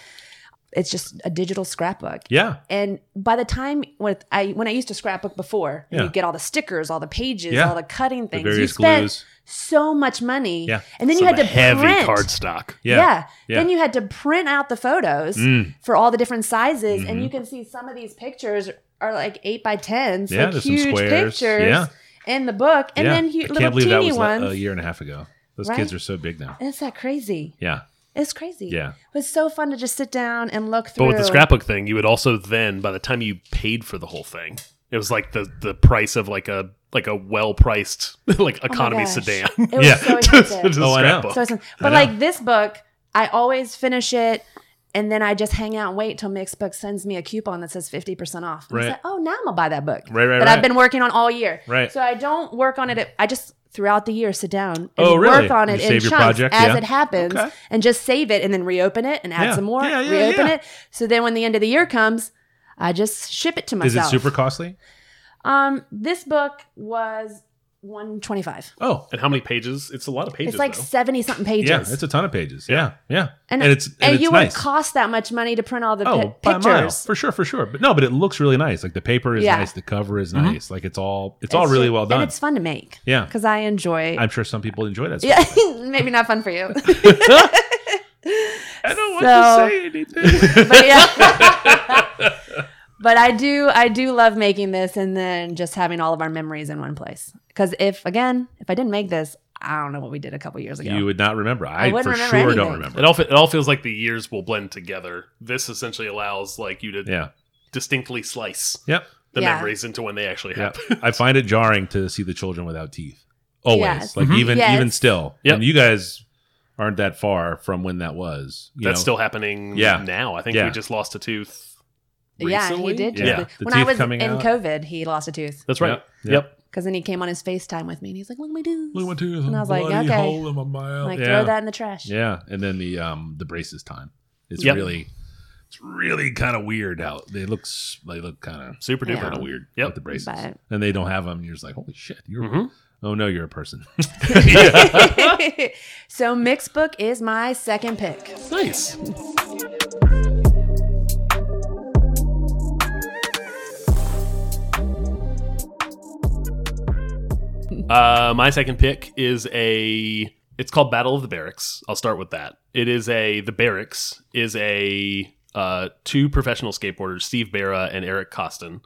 [SPEAKER 3] It's just a digital scrapbook.
[SPEAKER 2] Yeah.
[SPEAKER 3] And by the time when I when I used to scrapbook before, and
[SPEAKER 2] Yeah.
[SPEAKER 3] you get all the stickers, all the pages,
[SPEAKER 2] Yeah.
[SPEAKER 3] all the cutting
[SPEAKER 2] The
[SPEAKER 3] things. you
[SPEAKER 2] various
[SPEAKER 3] spent
[SPEAKER 2] glues.
[SPEAKER 3] so much money.
[SPEAKER 2] Yeah.
[SPEAKER 3] And then
[SPEAKER 7] Some
[SPEAKER 3] you had to
[SPEAKER 7] heavy
[SPEAKER 3] print.
[SPEAKER 7] cardstock.
[SPEAKER 2] Yeah.
[SPEAKER 3] Yeah.
[SPEAKER 2] Yeah.
[SPEAKER 3] Then you had to print out the photos
[SPEAKER 2] Mm. Mm-hmm.
[SPEAKER 3] for all the different sizes. And you can see some of these pictures are like eight by tens.
[SPEAKER 2] Yeah,
[SPEAKER 3] like
[SPEAKER 2] there's some
[SPEAKER 3] huge
[SPEAKER 2] squares.
[SPEAKER 3] pictures
[SPEAKER 2] Yeah.
[SPEAKER 3] in the book. And
[SPEAKER 2] yeah.
[SPEAKER 3] then hu-
[SPEAKER 2] I
[SPEAKER 3] little teeny
[SPEAKER 2] le-
[SPEAKER 3] ones.
[SPEAKER 2] uh, a year and a half ago. Those
[SPEAKER 3] Right?
[SPEAKER 2] kids are so big now.
[SPEAKER 3] Is that crazy?
[SPEAKER 2] Yeah.
[SPEAKER 3] It's crazy.
[SPEAKER 2] Yeah.
[SPEAKER 3] It was so fun to just sit down and look
[SPEAKER 7] But
[SPEAKER 3] through.
[SPEAKER 7] with the scrapbook thing, you would also then, by the time you paid for the whole thing, it was like the the price of like a like a well priced <laughs> like
[SPEAKER 3] Oh my
[SPEAKER 7] economy
[SPEAKER 3] gosh.
[SPEAKER 7] sedan.
[SPEAKER 2] <laughs>
[SPEAKER 3] It was
[SPEAKER 2] Yeah.
[SPEAKER 3] <laughs> so
[SPEAKER 7] Just-
[SPEAKER 3] expensive.
[SPEAKER 7] just
[SPEAKER 2] Oh, I know. <laughs>
[SPEAKER 7] scrapbook.
[SPEAKER 3] So it's, but like this book, I always finish it and then I just hang out and wait till Mixbook sends me a coupon that says 50% off. And I
[SPEAKER 2] Right.
[SPEAKER 3] say, oh, now I'm going to buy that book
[SPEAKER 2] Right, right,
[SPEAKER 3] that
[SPEAKER 2] right.
[SPEAKER 3] I've been working on all year.
[SPEAKER 2] Right.
[SPEAKER 3] So I don't work on it. at- I just throughout the year sit down and
[SPEAKER 2] Oh, really?
[SPEAKER 3] work on it
[SPEAKER 2] You
[SPEAKER 3] in
[SPEAKER 2] save your
[SPEAKER 3] chunks
[SPEAKER 2] project,
[SPEAKER 3] as
[SPEAKER 2] yeah.
[SPEAKER 3] it happens
[SPEAKER 2] Okay.
[SPEAKER 3] and just save it and then reopen it and add
[SPEAKER 2] Yeah.
[SPEAKER 3] some more,
[SPEAKER 2] Yeah, yeah,
[SPEAKER 3] reopen
[SPEAKER 2] yeah.
[SPEAKER 3] it. So then when the end of the year comes, I just ship it to
[SPEAKER 2] Is it
[SPEAKER 3] myself.
[SPEAKER 2] super costly?
[SPEAKER 3] Um, this book was 125.
[SPEAKER 2] Oh.
[SPEAKER 7] and how many pages? It's a lot of pages.
[SPEAKER 3] It's like
[SPEAKER 7] though.
[SPEAKER 3] 70 something pages.
[SPEAKER 2] Yeah, it's a ton of pages. Yeah, yeah, and,
[SPEAKER 3] And-
[SPEAKER 2] it's and,
[SPEAKER 3] and,
[SPEAKER 2] it's
[SPEAKER 3] you
[SPEAKER 2] nice.
[SPEAKER 3] would cost that much money to print all the
[SPEAKER 2] oh,
[SPEAKER 3] pi-
[SPEAKER 2] by a mile.
[SPEAKER 3] pictures.
[SPEAKER 2] for sure, for sure. But no, but it looks really nice. Like the paper is
[SPEAKER 3] Yeah.
[SPEAKER 2] nice, the cover is nice. Like it's all it's, all really
[SPEAKER 3] ju-
[SPEAKER 2] well done.
[SPEAKER 3] And it's fun to make.
[SPEAKER 2] yeah,
[SPEAKER 3] Because I enjoy.
[SPEAKER 2] I'm sure some people enjoy that.
[SPEAKER 3] <laughs> yeah, maybe not fun for you.
[SPEAKER 2] <laughs>
[SPEAKER 3] <laughs>
[SPEAKER 2] I don't
[SPEAKER 3] want to
[SPEAKER 2] say
[SPEAKER 3] <laughs>
[SPEAKER 2] anything. <laughs>
[SPEAKER 3] but yeah. but I do I do love making this and then just having all of our memories in one place. Because if again, if I didn't make this, I don't know what we did a couple years ago.
[SPEAKER 2] you would not remember. I,
[SPEAKER 3] wouldn't
[SPEAKER 2] for
[SPEAKER 3] remember
[SPEAKER 2] sure don't
[SPEAKER 3] anything.
[SPEAKER 2] remember.
[SPEAKER 7] It all, fe- it all feels like the years will blend together. This essentially allows like you to
[SPEAKER 2] Yeah,
[SPEAKER 7] distinctly slice
[SPEAKER 2] yep,
[SPEAKER 7] the
[SPEAKER 3] Yeah.
[SPEAKER 7] memories into when they actually
[SPEAKER 2] yep.
[SPEAKER 7] happen.
[SPEAKER 2] I find it jarring to see the children without teeth. Always,
[SPEAKER 3] Yes. Mm-hmm.
[SPEAKER 2] like even
[SPEAKER 3] Yes.
[SPEAKER 2] even still.
[SPEAKER 7] Yep.
[SPEAKER 2] And you guys aren't that far from when that was. you
[SPEAKER 7] That's
[SPEAKER 2] know?
[SPEAKER 7] still happening
[SPEAKER 2] Yeah.
[SPEAKER 7] now. I think
[SPEAKER 2] Yeah.
[SPEAKER 7] we just lost a tooth.
[SPEAKER 3] Yeah,
[SPEAKER 7] recently?
[SPEAKER 3] he did.
[SPEAKER 2] Yeah.
[SPEAKER 3] just-
[SPEAKER 2] The
[SPEAKER 3] When I
[SPEAKER 2] teeth
[SPEAKER 3] was in
[SPEAKER 2] coming out.
[SPEAKER 3] COVID, he lost a tooth
[SPEAKER 7] That's right.
[SPEAKER 2] Yep. Yep.
[SPEAKER 3] because then he came on his FaceTime with me and he's like, "Look at my tooth."
[SPEAKER 2] Look what two is
[SPEAKER 3] And
[SPEAKER 2] a
[SPEAKER 3] I was like,
[SPEAKER 2] bloody
[SPEAKER 3] okay.
[SPEAKER 2] hole in my mouth.
[SPEAKER 3] Like
[SPEAKER 2] yeah.
[SPEAKER 3] throw that in the trash.
[SPEAKER 2] Yeah, and then the um the braces time. It's
[SPEAKER 7] Yep.
[SPEAKER 2] really it's really kind of weird how they look s- they look kind of
[SPEAKER 7] Super duper.
[SPEAKER 2] kind of weird
[SPEAKER 7] Yep.
[SPEAKER 2] with the braces.
[SPEAKER 3] But-
[SPEAKER 2] And they don't have them and you're just like, "Holy shit, you're
[SPEAKER 7] Mhm.
[SPEAKER 2] Oh no, you're a person.
[SPEAKER 3] <laughs>
[SPEAKER 2] <laughs>
[SPEAKER 3] so mixed book is my second pick.
[SPEAKER 7] Nice. Uh, my second pick is a. It's called Battle of the Barracks. I'll start with that. It is a. The Barracks is a. Uh, two professional skateboarders, Steve Barra and Eric Costin.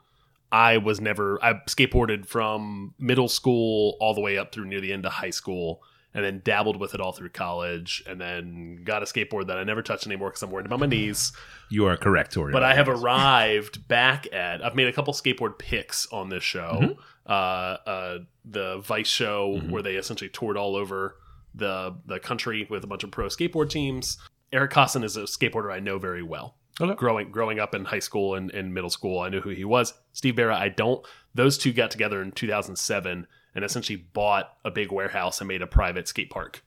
[SPEAKER 7] I was never. I skateboarded from middle school all the way up through near the end of high school, and then dabbled with it all through college, and then got a skateboard that I never touched anymore because I'm worried about my knees.
[SPEAKER 2] you are correct, Tori.
[SPEAKER 7] But I have
[SPEAKER 2] <laughs>
[SPEAKER 7] arrived back at. I've made a couple skateboard picks on this show. Uh, uh, the Vice show where they essentially toured all over the the country with a bunch of pro skateboard teams. Eric Costin is a skateboarder I know very well.
[SPEAKER 2] Okay.
[SPEAKER 7] Growing growing up in high school and, and middle school, I knew who he was. Steve Barra, I don't. Those two got together in 2007 and essentially bought a big warehouse and made a private skate park.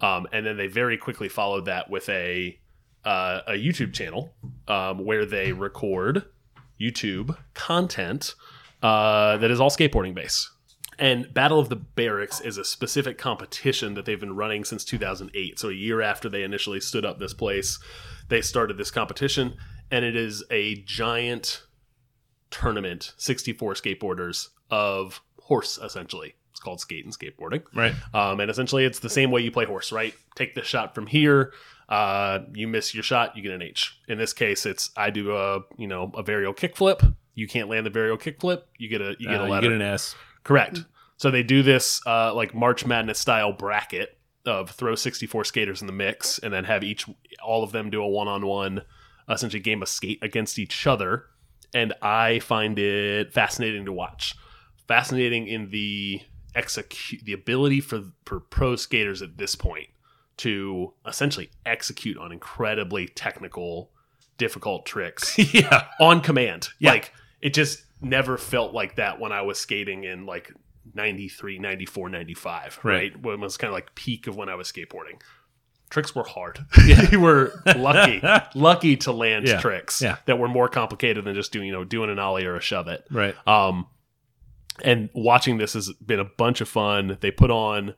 [SPEAKER 7] Um, and then they very quickly followed that with a uh, a YouTube channel um, where they record YouTube content uh, that is all skateboarding based. And Battle of the Barracks is a specific competition that they've been running since 2008. So a year after they initially stood up this place, they started this competition, and it is a giant tournament, 64 skateboarders of horse essentially. It's called skate and skateboarding.
[SPEAKER 2] right.
[SPEAKER 7] Um, and essentially, it's the same way you play horse, right? Take the shot from here. Uh, you miss your shot, you get an H. In this case, it's I do a you know a varial kickflip. You can't land the varial kickflip. You get a you get
[SPEAKER 2] Uh,
[SPEAKER 7] a
[SPEAKER 2] you
[SPEAKER 7] letter.
[SPEAKER 2] get an S.
[SPEAKER 7] Correct. So they do this uh, like March Madness style bracket of throw 64 skaters in the mix and then have each all of them do a one-on-one essentially game of skate against each other and I find it fascinating to watch. Fascinating in the execute the ability for for pro skaters at this point to essentially execute on incredibly technical difficult tricks
[SPEAKER 2] <laughs> yeah.
[SPEAKER 7] on command.
[SPEAKER 2] Yeah.
[SPEAKER 7] Like it just never felt like that when I was skating in like 93, 94, 95, right?
[SPEAKER 2] Right.
[SPEAKER 7] When it was kind of like peak of when I was skateboarding. Tricks were
[SPEAKER 2] <laughs>
[SPEAKER 7] hard. <laughs> you were lucky, lucky to land
[SPEAKER 2] Yeah.
[SPEAKER 7] tricks
[SPEAKER 2] Yeah.
[SPEAKER 7] that were more complicated than just doing, you know, doing an ollie or a shove it.
[SPEAKER 2] Right.
[SPEAKER 7] Um, and watching this has been a bunch of fun. They put on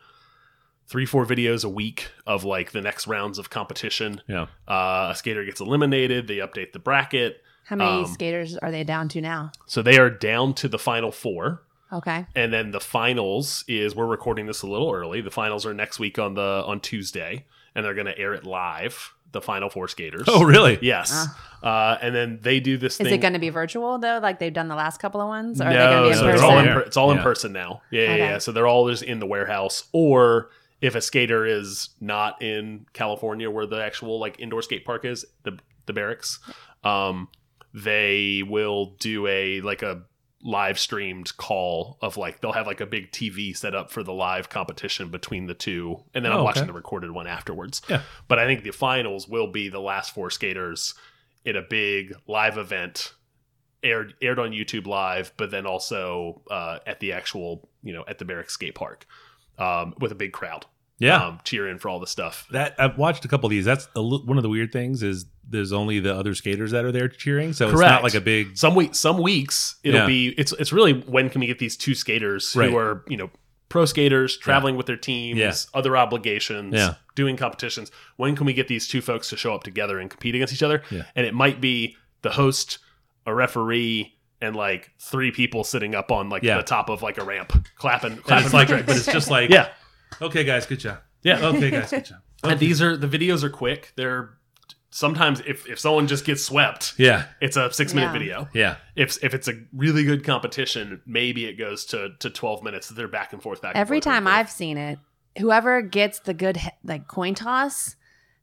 [SPEAKER 7] three, four videos a week of like the next rounds of competition.
[SPEAKER 2] Yeah.
[SPEAKER 7] Uh, a skater gets eliminated. They update the bracket.
[SPEAKER 3] How many
[SPEAKER 7] Um,
[SPEAKER 3] skaters are they down to now?
[SPEAKER 7] So they are down to the final four.
[SPEAKER 3] Okay.
[SPEAKER 7] And then the finals is we're recording this a little early. The finals are next week on the on Tuesday, and they're gonna air it live, the final four skaters.
[SPEAKER 2] Oh, really?
[SPEAKER 7] Yes. Uh, and then they do this
[SPEAKER 3] Is
[SPEAKER 7] thing.
[SPEAKER 3] it going to be virtual though, like they've done the last couple of ones, or are they
[SPEAKER 7] no,
[SPEAKER 3] going to be in
[SPEAKER 7] so
[SPEAKER 2] they're
[SPEAKER 7] it's
[SPEAKER 3] person?
[SPEAKER 7] all in,
[SPEAKER 2] Yeah.
[SPEAKER 7] per- it's all in
[SPEAKER 2] Yeah.
[SPEAKER 7] person now. Yeah, yeah,
[SPEAKER 3] Okay.
[SPEAKER 7] yeah. So they're all just in the warehouse, or if a skater is not in California, where the actual like indoor skate park is, the the barracks, um, they will do a like a live streamed call of like they'll have like a big TV set up for the live competition between the two, and then
[SPEAKER 2] Oh,
[SPEAKER 7] I'm
[SPEAKER 2] okay.
[SPEAKER 7] watching the recorded one afterwards.
[SPEAKER 2] Yeah.
[SPEAKER 7] But I think the finals will be the last four skaters in a big live event aired aired on YouTube live, but then also uh, at the actual you know at the barracks skate park um, with a big crowd
[SPEAKER 2] Yeah.
[SPEAKER 7] um, cheering for all the stuff.
[SPEAKER 2] that I've watched a couple of these. That's a, li- one of the weird things is there's only the other skaters that are there cheering, so it's not
[SPEAKER 7] Correct.
[SPEAKER 2] like a
[SPEAKER 7] <laughs>
[SPEAKER 2] big
[SPEAKER 7] Some week some weeks it'll
[SPEAKER 2] Yeah.
[SPEAKER 7] be it's it's really when can we get these two skaters
[SPEAKER 2] Right.
[SPEAKER 7] who are you know pro skaters traveling with their teams,
[SPEAKER 2] Yeah.
[SPEAKER 7] other obligations,
[SPEAKER 2] Yeah.
[SPEAKER 7] doing competitions. When can we get these two folks to show up together and compete against each other?
[SPEAKER 2] Yeah.
[SPEAKER 7] And it might be the host, a referee. And like three people sitting up on like
[SPEAKER 2] Yeah.
[SPEAKER 7] the top of like a ramp, clapping,
[SPEAKER 2] But
[SPEAKER 7] clapping
[SPEAKER 2] it's
[SPEAKER 7] for
[SPEAKER 2] like, <laughs>
[SPEAKER 7] tricks.
[SPEAKER 2] but it's just like,
[SPEAKER 7] yeah,
[SPEAKER 2] Okay, guys, good job.
[SPEAKER 7] Yeah.
[SPEAKER 2] Okay, guys, good job.
[SPEAKER 7] And these are the videos are quick. They're sometimes if if someone just gets swept,
[SPEAKER 2] Yeah,
[SPEAKER 7] it's a six minute
[SPEAKER 3] Yeah.
[SPEAKER 7] video.
[SPEAKER 2] yeah,
[SPEAKER 7] If if it's a really good competition, maybe it goes to to twelve minutes. They're back and forth, back and
[SPEAKER 3] Every
[SPEAKER 7] forth, back
[SPEAKER 3] time
[SPEAKER 7] and
[SPEAKER 3] I've seen it, whoever gets the good he- like coin toss,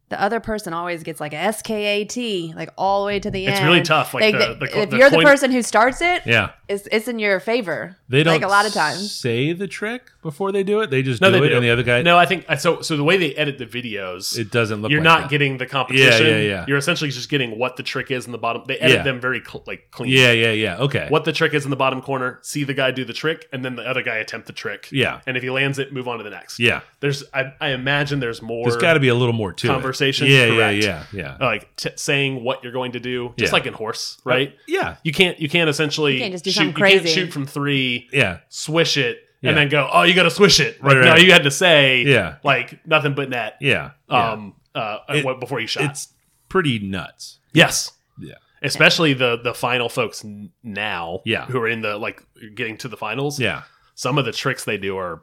[SPEAKER 3] the other person always gets like a SKAT, like all the way to the
[SPEAKER 7] It's
[SPEAKER 3] end.
[SPEAKER 7] really tough, like
[SPEAKER 3] They-
[SPEAKER 7] the- the-
[SPEAKER 3] if
[SPEAKER 7] the
[SPEAKER 3] you're
[SPEAKER 7] coin-
[SPEAKER 3] the person who starts it,
[SPEAKER 2] Yeah.
[SPEAKER 3] it's, it's in your favor.
[SPEAKER 2] They don't
[SPEAKER 3] like a lot of times.
[SPEAKER 2] say the trick before they do it. They just
[SPEAKER 7] No,
[SPEAKER 2] do
[SPEAKER 7] they
[SPEAKER 2] it,
[SPEAKER 7] do.
[SPEAKER 2] and the other guy
[SPEAKER 7] No, I think so. So the way they edit the videos,
[SPEAKER 2] it doesn't look.
[SPEAKER 7] you're
[SPEAKER 2] like
[SPEAKER 7] not
[SPEAKER 2] that.
[SPEAKER 7] getting the competition.
[SPEAKER 2] Yeah, yeah, yeah.
[SPEAKER 7] You're essentially just getting what the trick is in the bottom. They edit
[SPEAKER 2] Yeah.
[SPEAKER 7] them very cl- like clean.
[SPEAKER 2] Yeah, yeah, yeah. Okay.
[SPEAKER 7] What the trick is in the bottom corner. See the guy do the trick, and then the other guy attempt the trick.
[SPEAKER 2] Yeah.
[SPEAKER 7] And if he lands it, move on to the next.
[SPEAKER 2] Yeah.
[SPEAKER 7] There's, I, I imagine there's more.
[SPEAKER 2] There's got to be a little more to it.
[SPEAKER 7] conversation,
[SPEAKER 2] Yeah,
[SPEAKER 7] correct.
[SPEAKER 2] yeah, yeah, yeah.
[SPEAKER 7] uh, like t- saying what you're going to do, just
[SPEAKER 2] Yeah.
[SPEAKER 7] like in horse, right?
[SPEAKER 2] yeah,
[SPEAKER 7] You can't, you can't essentially
[SPEAKER 3] You can't just do
[SPEAKER 7] shoot,
[SPEAKER 3] something
[SPEAKER 7] You can't
[SPEAKER 3] crazy.
[SPEAKER 7] shoot from three,
[SPEAKER 2] yeah.
[SPEAKER 7] swish it,
[SPEAKER 2] Yeah.
[SPEAKER 7] and then go, oh, you got to swish it. Like,
[SPEAKER 2] Right,
[SPEAKER 7] No,
[SPEAKER 2] right.
[SPEAKER 7] you had to say,
[SPEAKER 2] Yeah.
[SPEAKER 7] like nothing but net.
[SPEAKER 2] Yeah. yeah.
[SPEAKER 7] um uh
[SPEAKER 2] It-
[SPEAKER 7] what- before you shot
[SPEAKER 2] it's pretty nuts.
[SPEAKER 7] yes
[SPEAKER 2] Yeah.
[SPEAKER 7] especially the the final folks n- now
[SPEAKER 2] Yeah.
[SPEAKER 7] who are in the like getting to the finals
[SPEAKER 2] Yeah.
[SPEAKER 7] some of the tricks they do are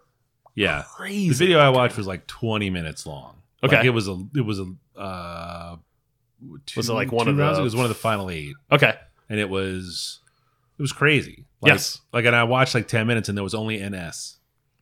[SPEAKER 2] Yeah.
[SPEAKER 7] crazy
[SPEAKER 2] The video I watched was like 20 minutes long.
[SPEAKER 7] Okay.
[SPEAKER 2] Like, it was a it was a uh two,
[SPEAKER 7] Was it, like, one
[SPEAKER 2] two
[SPEAKER 7] of the-
[SPEAKER 2] rounds? it was one of the final 8
[SPEAKER 7] okay
[SPEAKER 2] and it was it was crazy. Like,
[SPEAKER 7] Yes.
[SPEAKER 2] Like and I watched like 10 minutes and there was only NS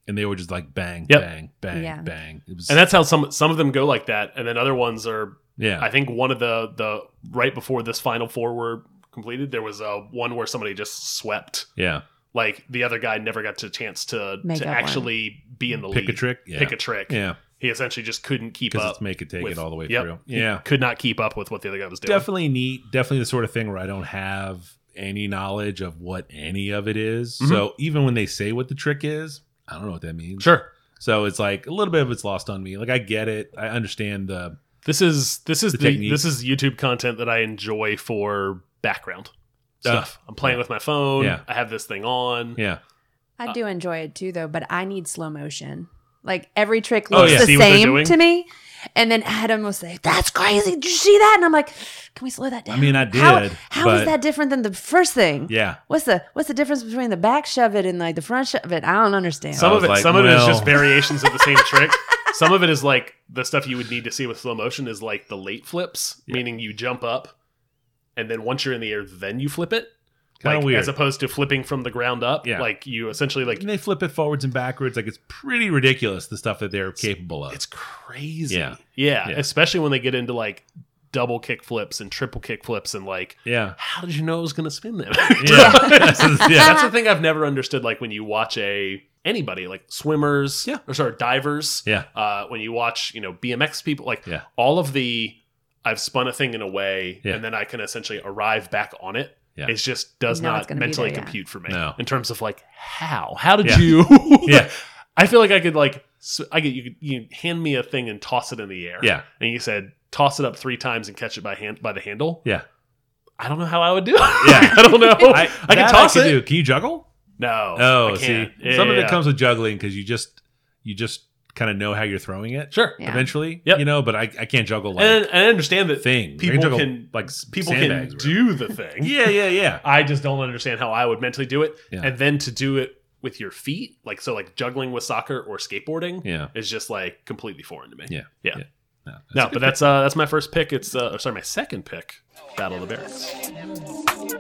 [SPEAKER 2] and they were just like bang
[SPEAKER 7] Yep.
[SPEAKER 2] bang bang
[SPEAKER 3] Yeah.
[SPEAKER 2] bang. It was
[SPEAKER 7] and that's how some some of them go like that and then other ones are
[SPEAKER 2] yeah.
[SPEAKER 7] i think one of the the right before this final four were completed there was uh one where somebody just swept
[SPEAKER 2] yeah.
[SPEAKER 7] like the other guy never got to chance to
[SPEAKER 3] Make
[SPEAKER 7] to
[SPEAKER 3] up one.
[SPEAKER 7] actually be in the
[SPEAKER 2] Pick a
[SPEAKER 7] lead.
[SPEAKER 2] trick? Yeah.
[SPEAKER 7] pick a trick
[SPEAKER 2] Yeah.
[SPEAKER 7] he essentially just couldn't keep
[SPEAKER 2] Cuz
[SPEAKER 7] up
[SPEAKER 2] it's make it take
[SPEAKER 7] with-
[SPEAKER 2] it all the way
[SPEAKER 7] yep.
[SPEAKER 2] through.
[SPEAKER 7] He
[SPEAKER 2] Yeah.
[SPEAKER 7] could not keep up with what the other guy was doing
[SPEAKER 2] definitely neat. Definitely the sort of thing where I don't have any knowledge of what any of it is.
[SPEAKER 7] Mm-hmm.
[SPEAKER 2] So even when they say what the trick is, I don't know what that means.
[SPEAKER 7] Sure.
[SPEAKER 2] So it's like a little bit of it's lost on me. Like I get it. I understand the
[SPEAKER 7] This is this is
[SPEAKER 2] The
[SPEAKER 7] the,
[SPEAKER 2] technique.
[SPEAKER 7] this is YouTube content that I enjoy for background stuff. I'm playing with my phone.
[SPEAKER 2] Yeah.
[SPEAKER 7] I have this thing on.
[SPEAKER 2] yeah. Uh,
[SPEAKER 3] I do enjoy it too, though, but I need slow motion. Like every trick
[SPEAKER 7] Oh,
[SPEAKER 3] looks
[SPEAKER 7] yeah.
[SPEAKER 3] the
[SPEAKER 7] See what they're
[SPEAKER 3] same
[SPEAKER 7] doing?
[SPEAKER 3] to me. And then Adam will say, That's crazy. Did you see that? And I'm like, Can we slow that down?
[SPEAKER 2] mean, I
[SPEAKER 3] How-
[SPEAKER 2] did,
[SPEAKER 3] how is
[SPEAKER 2] but-
[SPEAKER 3] that different than the first thing?
[SPEAKER 2] Yeah.
[SPEAKER 3] What's the what's the difference between the back shove it and like the front shove it? I don't understand.
[SPEAKER 7] Some
[SPEAKER 2] I
[SPEAKER 7] of
[SPEAKER 2] was
[SPEAKER 7] it
[SPEAKER 2] like,
[SPEAKER 7] some of it is
[SPEAKER 2] well-
[SPEAKER 7] just variations of the
[SPEAKER 2] <laughs>
[SPEAKER 7] same trick. Some of it is like the stuff you would need to see with slow motion is like the late flips, meaning you jump up and then once you're in the air then you flip it.
[SPEAKER 2] Kinda
[SPEAKER 7] like
[SPEAKER 2] weird.
[SPEAKER 7] as opposed to flipping from the ground up,
[SPEAKER 2] Yeah.
[SPEAKER 7] like you essentially like
[SPEAKER 2] And they flip it forwards and backwards. Like it's pretty ridiculous the stuff that they're capable of.
[SPEAKER 7] it's crazy.
[SPEAKER 2] Yeah.
[SPEAKER 7] yeah.
[SPEAKER 2] Yeah.
[SPEAKER 7] Especially when they get into like double kick flips and triple kick flips and like
[SPEAKER 2] yeah.
[SPEAKER 7] how did you know it was going to spin them?
[SPEAKER 2] <laughs>
[SPEAKER 7] <laughs>
[SPEAKER 2] Yeah. yeah.
[SPEAKER 7] That's the thing I've never understood. Like when you watch a anybody like swimmers,
[SPEAKER 2] Yeah.
[SPEAKER 7] or sorry, divers,
[SPEAKER 2] Yeah.
[SPEAKER 7] Uh, when you watch, you know, BMX people, like
[SPEAKER 2] Yeah.
[SPEAKER 7] all of the, I've spun a thing in a way,
[SPEAKER 2] Yeah.
[SPEAKER 7] and then I can essentially arrive back on it.
[SPEAKER 2] Yeah.
[SPEAKER 7] It just does
[SPEAKER 3] You know it's
[SPEAKER 7] not
[SPEAKER 3] gonna be
[SPEAKER 7] mentally
[SPEAKER 3] there, yeah.
[SPEAKER 7] compute for me
[SPEAKER 2] No.
[SPEAKER 7] in terms of like how how did
[SPEAKER 2] Yeah.
[SPEAKER 7] you
[SPEAKER 2] <laughs> Yeah.
[SPEAKER 7] I feel like I could like s- I get you could you hand me a thing and toss it in the air
[SPEAKER 2] Yeah.
[SPEAKER 7] and you said toss it up three times and catch it by hand by the handle
[SPEAKER 2] Yeah.
[SPEAKER 7] I don't know how I would do it.
[SPEAKER 2] Yeah.
[SPEAKER 7] <laughs> I don't know. I, can
[SPEAKER 2] that
[SPEAKER 7] toss
[SPEAKER 2] could
[SPEAKER 7] it.
[SPEAKER 2] do. Can you juggle?
[SPEAKER 7] No.
[SPEAKER 2] Oh,
[SPEAKER 7] I
[SPEAKER 2] see,
[SPEAKER 7] can't. Yeah,
[SPEAKER 2] some of
[SPEAKER 7] yeah.
[SPEAKER 2] it comes with juggling because you just you just kind of know how you're throwing it.
[SPEAKER 7] Sure.
[SPEAKER 3] Yeah.
[SPEAKER 2] Eventually,
[SPEAKER 7] Yep.
[SPEAKER 2] you know, but I, I can't juggle like
[SPEAKER 7] and, and I understand that
[SPEAKER 2] thing. They can
[SPEAKER 7] people
[SPEAKER 2] juggle,
[SPEAKER 7] can
[SPEAKER 2] like,
[SPEAKER 7] like people can
[SPEAKER 2] sandbags, right?
[SPEAKER 7] do the thing.
[SPEAKER 2] Yeah, yeah, yeah.
[SPEAKER 7] I just don't understand how I would mentally do it,
[SPEAKER 2] Yeah.
[SPEAKER 7] and then to do it with your feet, like so, like juggling with soccer or skateboarding,
[SPEAKER 2] Yeah.
[SPEAKER 7] is just like completely foreign to me.
[SPEAKER 2] Yeah.
[SPEAKER 7] Yeah.
[SPEAKER 2] Yeah. No,
[SPEAKER 7] No, but that's uh that's my first pick. It's uh sorry, my second pick. Battle of the Barracks.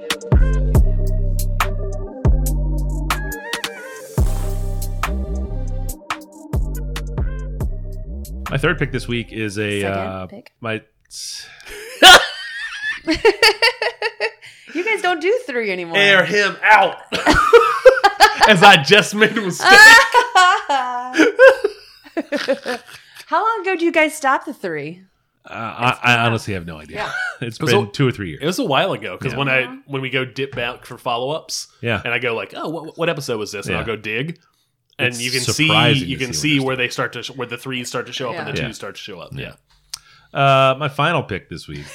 [SPEAKER 2] my third pick this week is a
[SPEAKER 3] Second
[SPEAKER 2] uh,
[SPEAKER 3] pick.
[SPEAKER 2] my
[SPEAKER 3] you guys don't do three anymore.
[SPEAKER 7] Air him out. <laughs> As I just made a mistake.
[SPEAKER 2] Uh,
[SPEAKER 3] How long ago do you guys stop the three?
[SPEAKER 2] uh, I, I honestly have no idea. <laughs> it's been
[SPEAKER 7] So-
[SPEAKER 2] two or three
[SPEAKER 7] It
[SPEAKER 2] years.
[SPEAKER 7] was a while ago because
[SPEAKER 2] Yeah. Uh-huh.
[SPEAKER 7] when I when we go dip back for follow ups,
[SPEAKER 2] Yeah.
[SPEAKER 7] and I go like, oh, what, what episode was this? And
[SPEAKER 2] Yeah.
[SPEAKER 7] I'll go dig, and
[SPEAKER 2] It's
[SPEAKER 7] you can see
[SPEAKER 2] surprising
[SPEAKER 7] you
[SPEAKER 2] to
[SPEAKER 7] can see
[SPEAKER 2] see what they're
[SPEAKER 7] where they start to sh- where the threes start to show up and the
[SPEAKER 2] Yeah.
[SPEAKER 7] twos start to show up. Yeah,
[SPEAKER 2] Uh, my final pick this
[SPEAKER 3] <laughs>
[SPEAKER 2] week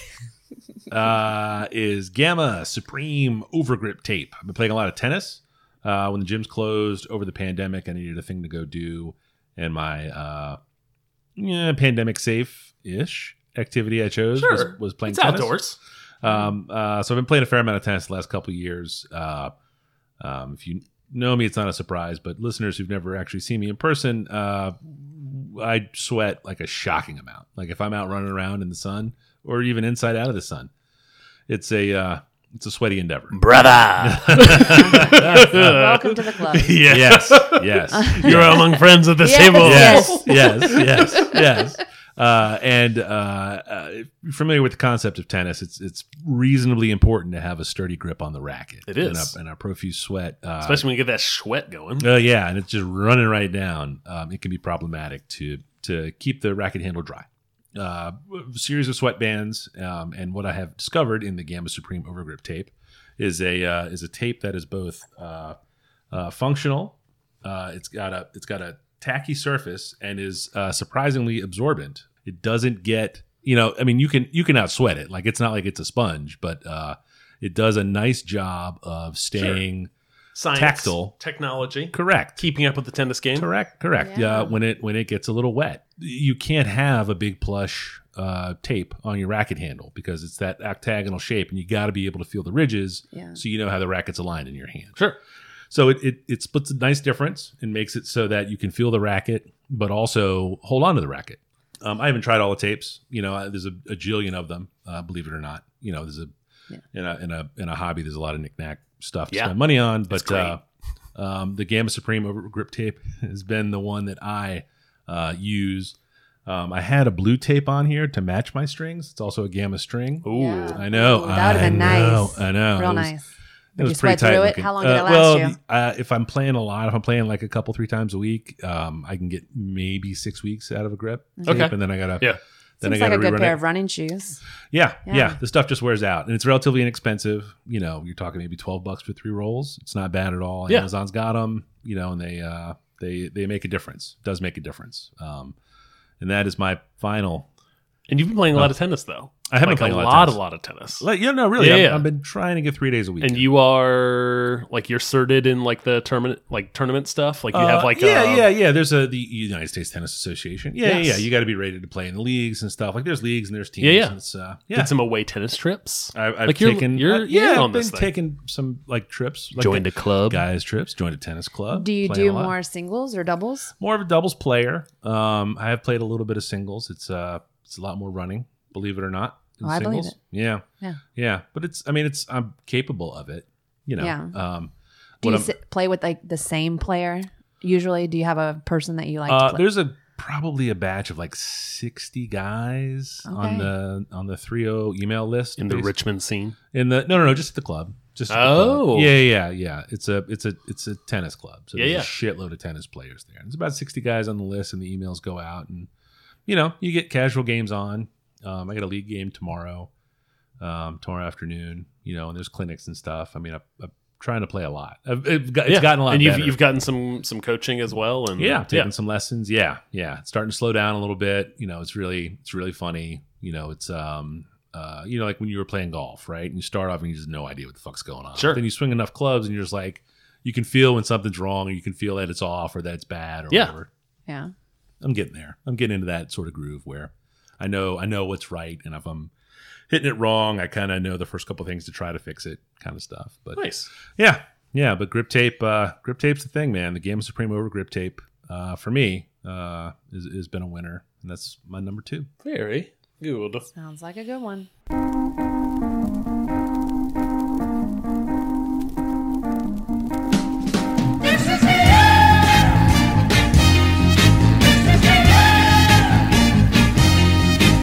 [SPEAKER 2] uh, is Gamma Supreme Overgrip Tape. I've been playing a lot of tennis. Uh, when the gym's closed over the pandemic, I needed a thing to go do, and my uh, yeah, pandemic safe ish activity I chose
[SPEAKER 7] sure.
[SPEAKER 2] was, was playing
[SPEAKER 7] it's
[SPEAKER 2] tennis. <laughs>
[SPEAKER 7] outdoors.
[SPEAKER 2] Um, uh, so I've been playing a fair amount of tennis the last couple of years. Uh, um, if you know me, it's not a surprise, but listeners who've never actually seen me in person, uh, I sweat like a shocking amount. Like if I'm out running around in the sun or even inside out of the sun, it's a, uh, it's a sweaty endeavor.
[SPEAKER 7] Brother,
[SPEAKER 2] Uh, <laughs>
[SPEAKER 3] Welcome to the club.
[SPEAKER 7] yes,
[SPEAKER 2] Yes. Yes.
[SPEAKER 7] you're among friends at this
[SPEAKER 3] Yes.
[SPEAKER 7] table.
[SPEAKER 3] Yes.
[SPEAKER 2] yes, yes, yes. Uh, and uh, uh, if you're familiar with the concept of tennis, it's it's reasonably important to have a sturdy grip on the racket.
[SPEAKER 7] It is.
[SPEAKER 2] and a, and a profuse sweat, uh,
[SPEAKER 7] Especially when you get that sweat going.
[SPEAKER 2] uh, yeah, and it's just running right down. Um, it can be problematic to to keep the racket handle dry. Uh, a series of sweatbands, um, and what I have discovered in the Gamma Supreme overgrip tape is a uh, is a tape that is both uh, uh, functional. Uh, it's got a it's got a tacky surface and is uh, surprisingly absorbent. It doesn't get you know. I mean, you can you can out sweat it. Like it's not like it's a sponge, but uh, it does a nice job of staying
[SPEAKER 7] Science,
[SPEAKER 2] Tactile.
[SPEAKER 7] technology,
[SPEAKER 2] correct.
[SPEAKER 7] keeping up with the tennis game.
[SPEAKER 2] Correct, correct. Yeah. when it when it gets a little wet, you can't have a big plush uh, tape on your racket handle because it's that octagonal shape, and you got to be able to feel the ridges,
[SPEAKER 3] Yeah.
[SPEAKER 2] so you know how the racket's aligned in your hand.
[SPEAKER 7] Sure.
[SPEAKER 2] So it, it it splits a nice difference and makes it so that you can feel the racket, but also hold on to the racket. Um, I haven't tried all the tapes. You know, I- there's a, a jillion of them. Uh, believe it or not, you know, there's a in a in a in a hobby. There's a lot of knickknack stuff to
[SPEAKER 7] Yeah.
[SPEAKER 2] spend money on, but
[SPEAKER 7] great.
[SPEAKER 2] uh, um, the Gamma Supreme over grip tape has been the one that I uh, use. Um, I had a blue tape on here to match my strings. It's also a gamma string.
[SPEAKER 7] Ooh.
[SPEAKER 3] Yeah.
[SPEAKER 2] I know.
[SPEAKER 3] Ooh, that would've been
[SPEAKER 2] I know,
[SPEAKER 3] nice.
[SPEAKER 2] I know.
[SPEAKER 3] Real
[SPEAKER 2] It was-
[SPEAKER 3] nice.
[SPEAKER 2] it was
[SPEAKER 3] you
[SPEAKER 2] pretty
[SPEAKER 3] sweat through
[SPEAKER 2] tight.
[SPEAKER 3] it?
[SPEAKER 2] looking.
[SPEAKER 3] How long did it
[SPEAKER 2] Uh,
[SPEAKER 3] last
[SPEAKER 2] well,
[SPEAKER 3] you?
[SPEAKER 2] Uh, if I'm playing a lot, if I'm playing like a couple, three times a week, um, I can get maybe six weeks out of a grip.
[SPEAKER 7] Okay.
[SPEAKER 2] tape, and then I gotta
[SPEAKER 7] Yeah.
[SPEAKER 2] Then
[SPEAKER 3] Mm-hmm. Seems
[SPEAKER 2] I
[SPEAKER 3] like
[SPEAKER 2] gotta
[SPEAKER 3] a good
[SPEAKER 2] rerun
[SPEAKER 3] pair
[SPEAKER 2] it.
[SPEAKER 3] of running shoes.
[SPEAKER 2] Yeah, yeah,
[SPEAKER 3] Yeah.
[SPEAKER 2] The stuff just wears out, and it's relatively inexpensive. You know, you're talking maybe twelve bucks for three rolls. It's not bad at all.
[SPEAKER 7] Yeah.
[SPEAKER 2] Amazon's got them. You know, and they uh, they they make a difference. Does make a difference. Um, and that is my final.
[SPEAKER 7] And you've been playing a lot of tennis, though.
[SPEAKER 2] Oh. I haven't
[SPEAKER 7] like
[SPEAKER 2] played
[SPEAKER 7] a
[SPEAKER 2] a lot of
[SPEAKER 7] lot, a lot
[SPEAKER 2] tennis.
[SPEAKER 7] of tennis.
[SPEAKER 2] Like, you know, really,
[SPEAKER 7] Yeah,
[SPEAKER 2] I've,
[SPEAKER 7] yeah.
[SPEAKER 2] I've been trying to get three days a week.
[SPEAKER 7] and you are like you're certed in like the tournament, like tournament stuff. Like you have
[SPEAKER 2] Uh,
[SPEAKER 7] like
[SPEAKER 2] yeah,
[SPEAKER 7] a,
[SPEAKER 2] yeah, yeah. There's a the United States Tennis Association. Yeah, yeah, yeah.
[SPEAKER 7] Yes.
[SPEAKER 2] You got to be rated to play in the leagues and stuff. Like there's leagues and there's teams.
[SPEAKER 7] Yeah, yeah.
[SPEAKER 2] And it's, uh, yeah. Uh,
[SPEAKER 7] did some away tennis trips.
[SPEAKER 2] I, I've
[SPEAKER 7] like you're-
[SPEAKER 2] taken.
[SPEAKER 7] you're-
[SPEAKER 2] I- yeah,
[SPEAKER 7] you're on
[SPEAKER 2] I've been
[SPEAKER 7] this thing.
[SPEAKER 2] taking some like trips. Like
[SPEAKER 7] Joined a club.
[SPEAKER 2] guys trips. Joined a tennis club.
[SPEAKER 3] Do you
[SPEAKER 2] playing a
[SPEAKER 3] do
[SPEAKER 2] lot.
[SPEAKER 3] more singles or doubles?
[SPEAKER 2] More of a doubles player. Um, I have played a little bit of singles. It's uh, it's a lot more running. Believe it or not. in
[SPEAKER 3] Oh, I believe
[SPEAKER 2] singles.
[SPEAKER 3] it.
[SPEAKER 2] Yeah.
[SPEAKER 3] Yeah.
[SPEAKER 2] Yeah, but it's. I mean, it's. I'm capable of it. You know.
[SPEAKER 3] Yeah.
[SPEAKER 2] Um,
[SPEAKER 3] Do
[SPEAKER 2] what
[SPEAKER 3] you
[SPEAKER 2] I'm-
[SPEAKER 3] sit, play with like the same player? Usually, do you have a person that you like?
[SPEAKER 2] Uh,
[SPEAKER 3] to play?
[SPEAKER 2] there's a probably a batch of like 60 guys on
[SPEAKER 3] Okay.
[SPEAKER 2] the on the 30 email list
[SPEAKER 7] in the
[SPEAKER 2] Bas-
[SPEAKER 7] Richmond scene.
[SPEAKER 2] in the no no no just at the club just at the
[SPEAKER 7] Oh.
[SPEAKER 2] club. yeah yeah yeah it's a it's a it's a tennis club so
[SPEAKER 7] Yeah,
[SPEAKER 2] there's a shitload of tennis players there there's about 60 guys on the list and the emails go out and you know you get casual games on um, I got a league game tomorrow um, tomorrow afternoon you know and there's clinics and stuff I mean I, I'm trying to play a lot I've, I've got, it's
[SPEAKER 7] yeah.
[SPEAKER 2] gotten a lot
[SPEAKER 7] and you've,
[SPEAKER 2] better.
[SPEAKER 7] you've gotten some some coaching as well. And
[SPEAKER 2] Yeah, taking some lessons. Yeah, yeah. It's starting to slow down a little bit. You know, it's really it's really funny. You know, it's um uh you know like when you were playing golf, right? And you start off and you just have no idea what the fuck's going on.
[SPEAKER 7] Sure.
[SPEAKER 2] Then you swing enough clubs and you're just like you can feel when something's wrong, or you can feel that it's off or that it's bad or
[SPEAKER 7] Yeah.
[SPEAKER 2] whatever.
[SPEAKER 3] yeah.
[SPEAKER 2] I'm getting there. I'm getting into that sort of groove where I know I know what's right and if I'm hitting it wrong, I kind of know the first couple things to try to fix it kind of stuff. But
[SPEAKER 7] nice.
[SPEAKER 2] yeah, yeah, but grip tape, uh, grip tape's the thing, man. The Game of Supreme over grip tape, uh, for me, uh, is has been a winner, and that's my number two.
[SPEAKER 7] Very good.
[SPEAKER 3] Sounds like a good one.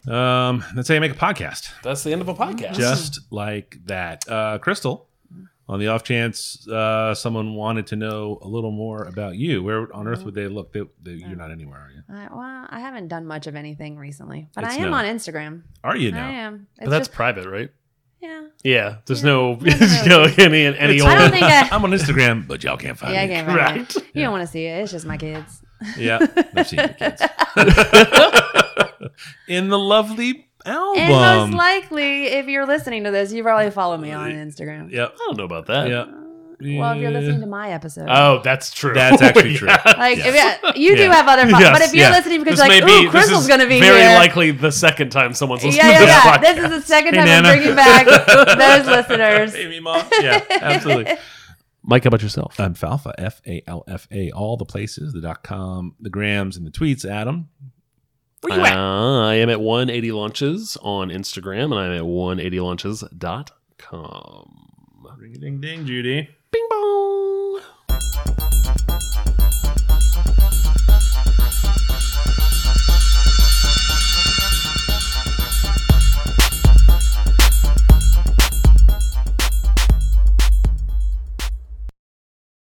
[SPEAKER 2] Um, that's how you make a podcast,
[SPEAKER 7] That's the end of a podcast.
[SPEAKER 2] just like that. Uh, Crystal, on the off chance uh, someone wanted to know a little more about you, where on earth would they look? They, they, you're not anywhere, are you?
[SPEAKER 3] I, well, I haven't done much of anything recently, but
[SPEAKER 2] It's
[SPEAKER 3] I am
[SPEAKER 2] no-
[SPEAKER 3] on Instagram.
[SPEAKER 2] Are you
[SPEAKER 3] I
[SPEAKER 2] now?
[SPEAKER 3] am. It's
[SPEAKER 7] but that's
[SPEAKER 3] just,
[SPEAKER 7] private, right?
[SPEAKER 3] yeah.
[SPEAKER 7] Yeah. <laughs> There's
[SPEAKER 3] Yeah.
[SPEAKER 7] no,
[SPEAKER 3] I don't know.
[SPEAKER 7] no any any
[SPEAKER 3] I don't
[SPEAKER 7] old.
[SPEAKER 3] think
[SPEAKER 2] <laughs>
[SPEAKER 3] I.
[SPEAKER 2] I'm on Instagram, but y'all can't find
[SPEAKER 3] Yeah, I
[SPEAKER 2] me.
[SPEAKER 3] can't
[SPEAKER 7] Right.
[SPEAKER 3] find it. You don't want to see it. It's just my kids.
[SPEAKER 2] Yeah, I've seen your
[SPEAKER 3] <laughs>
[SPEAKER 2] kids <laughs> in the lovely album.
[SPEAKER 3] And most likely, if you're listening to this, you probably follow me on Instagram.
[SPEAKER 2] yep,
[SPEAKER 7] I don't know about <laughs> that.
[SPEAKER 2] yep.
[SPEAKER 3] Well, if you're
[SPEAKER 2] Yeah.
[SPEAKER 3] listening to my episode.
[SPEAKER 7] Oh, that's true.
[SPEAKER 2] That's actually
[SPEAKER 7] <laughs> Yeah.
[SPEAKER 2] true.
[SPEAKER 3] like,
[SPEAKER 2] yeah.
[SPEAKER 3] if, yeah, you do
[SPEAKER 2] Yeah.
[SPEAKER 3] have other fun,
[SPEAKER 7] Yes,
[SPEAKER 3] but if you're
[SPEAKER 2] yeah.
[SPEAKER 3] listening because
[SPEAKER 7] This
[SPEAKER 3] you're like,
[SPEAKER 7] may be-
[SPEAKER 3] ooh,
[SPEAKER 7] this
[SPEAKER 3] Crystal's
[SPEAKER 7] is
[SPEAKER 3] going to be
[SPEAKER 7] very
[SPEAKER 3] here.
[SPEAKER 7] likely the second time someone's listening
[SPEAKER 3] yeah,
[SPEAKER 7] to
[SPEAKER 3] yeah,
[SPEAKER 7] this
[SPEAKER 3] yeah.
[SPEAKER 7] podcast.
[SPEAKER 3] This is the second
[SPEAKER 2] Hey,
[SPEAKER 3] time
[SPEAKER 2] Nana.
[SPEAKER 3] I'm bringing
[SPEAKER 7] <laughs>
[SPEAKER 3] back those listeners.
[SPEAKER 2] Hey, me, Mom. Yeah, absolutely.
[SPEAKER 7] <laughs> Mike, how about yourself?
[SPEAKER 2] I'm Falfa, F A L F A, all the places, the dot com, the grams, and the tweets. Adam,
[SPEAKER 7] Where you at? I am at 180 launches on Instagram, and I'm at 180launches.com.
[SPEAKER 2] ring a ding ding, Judy.
[SPEAKER 7] Bing bong.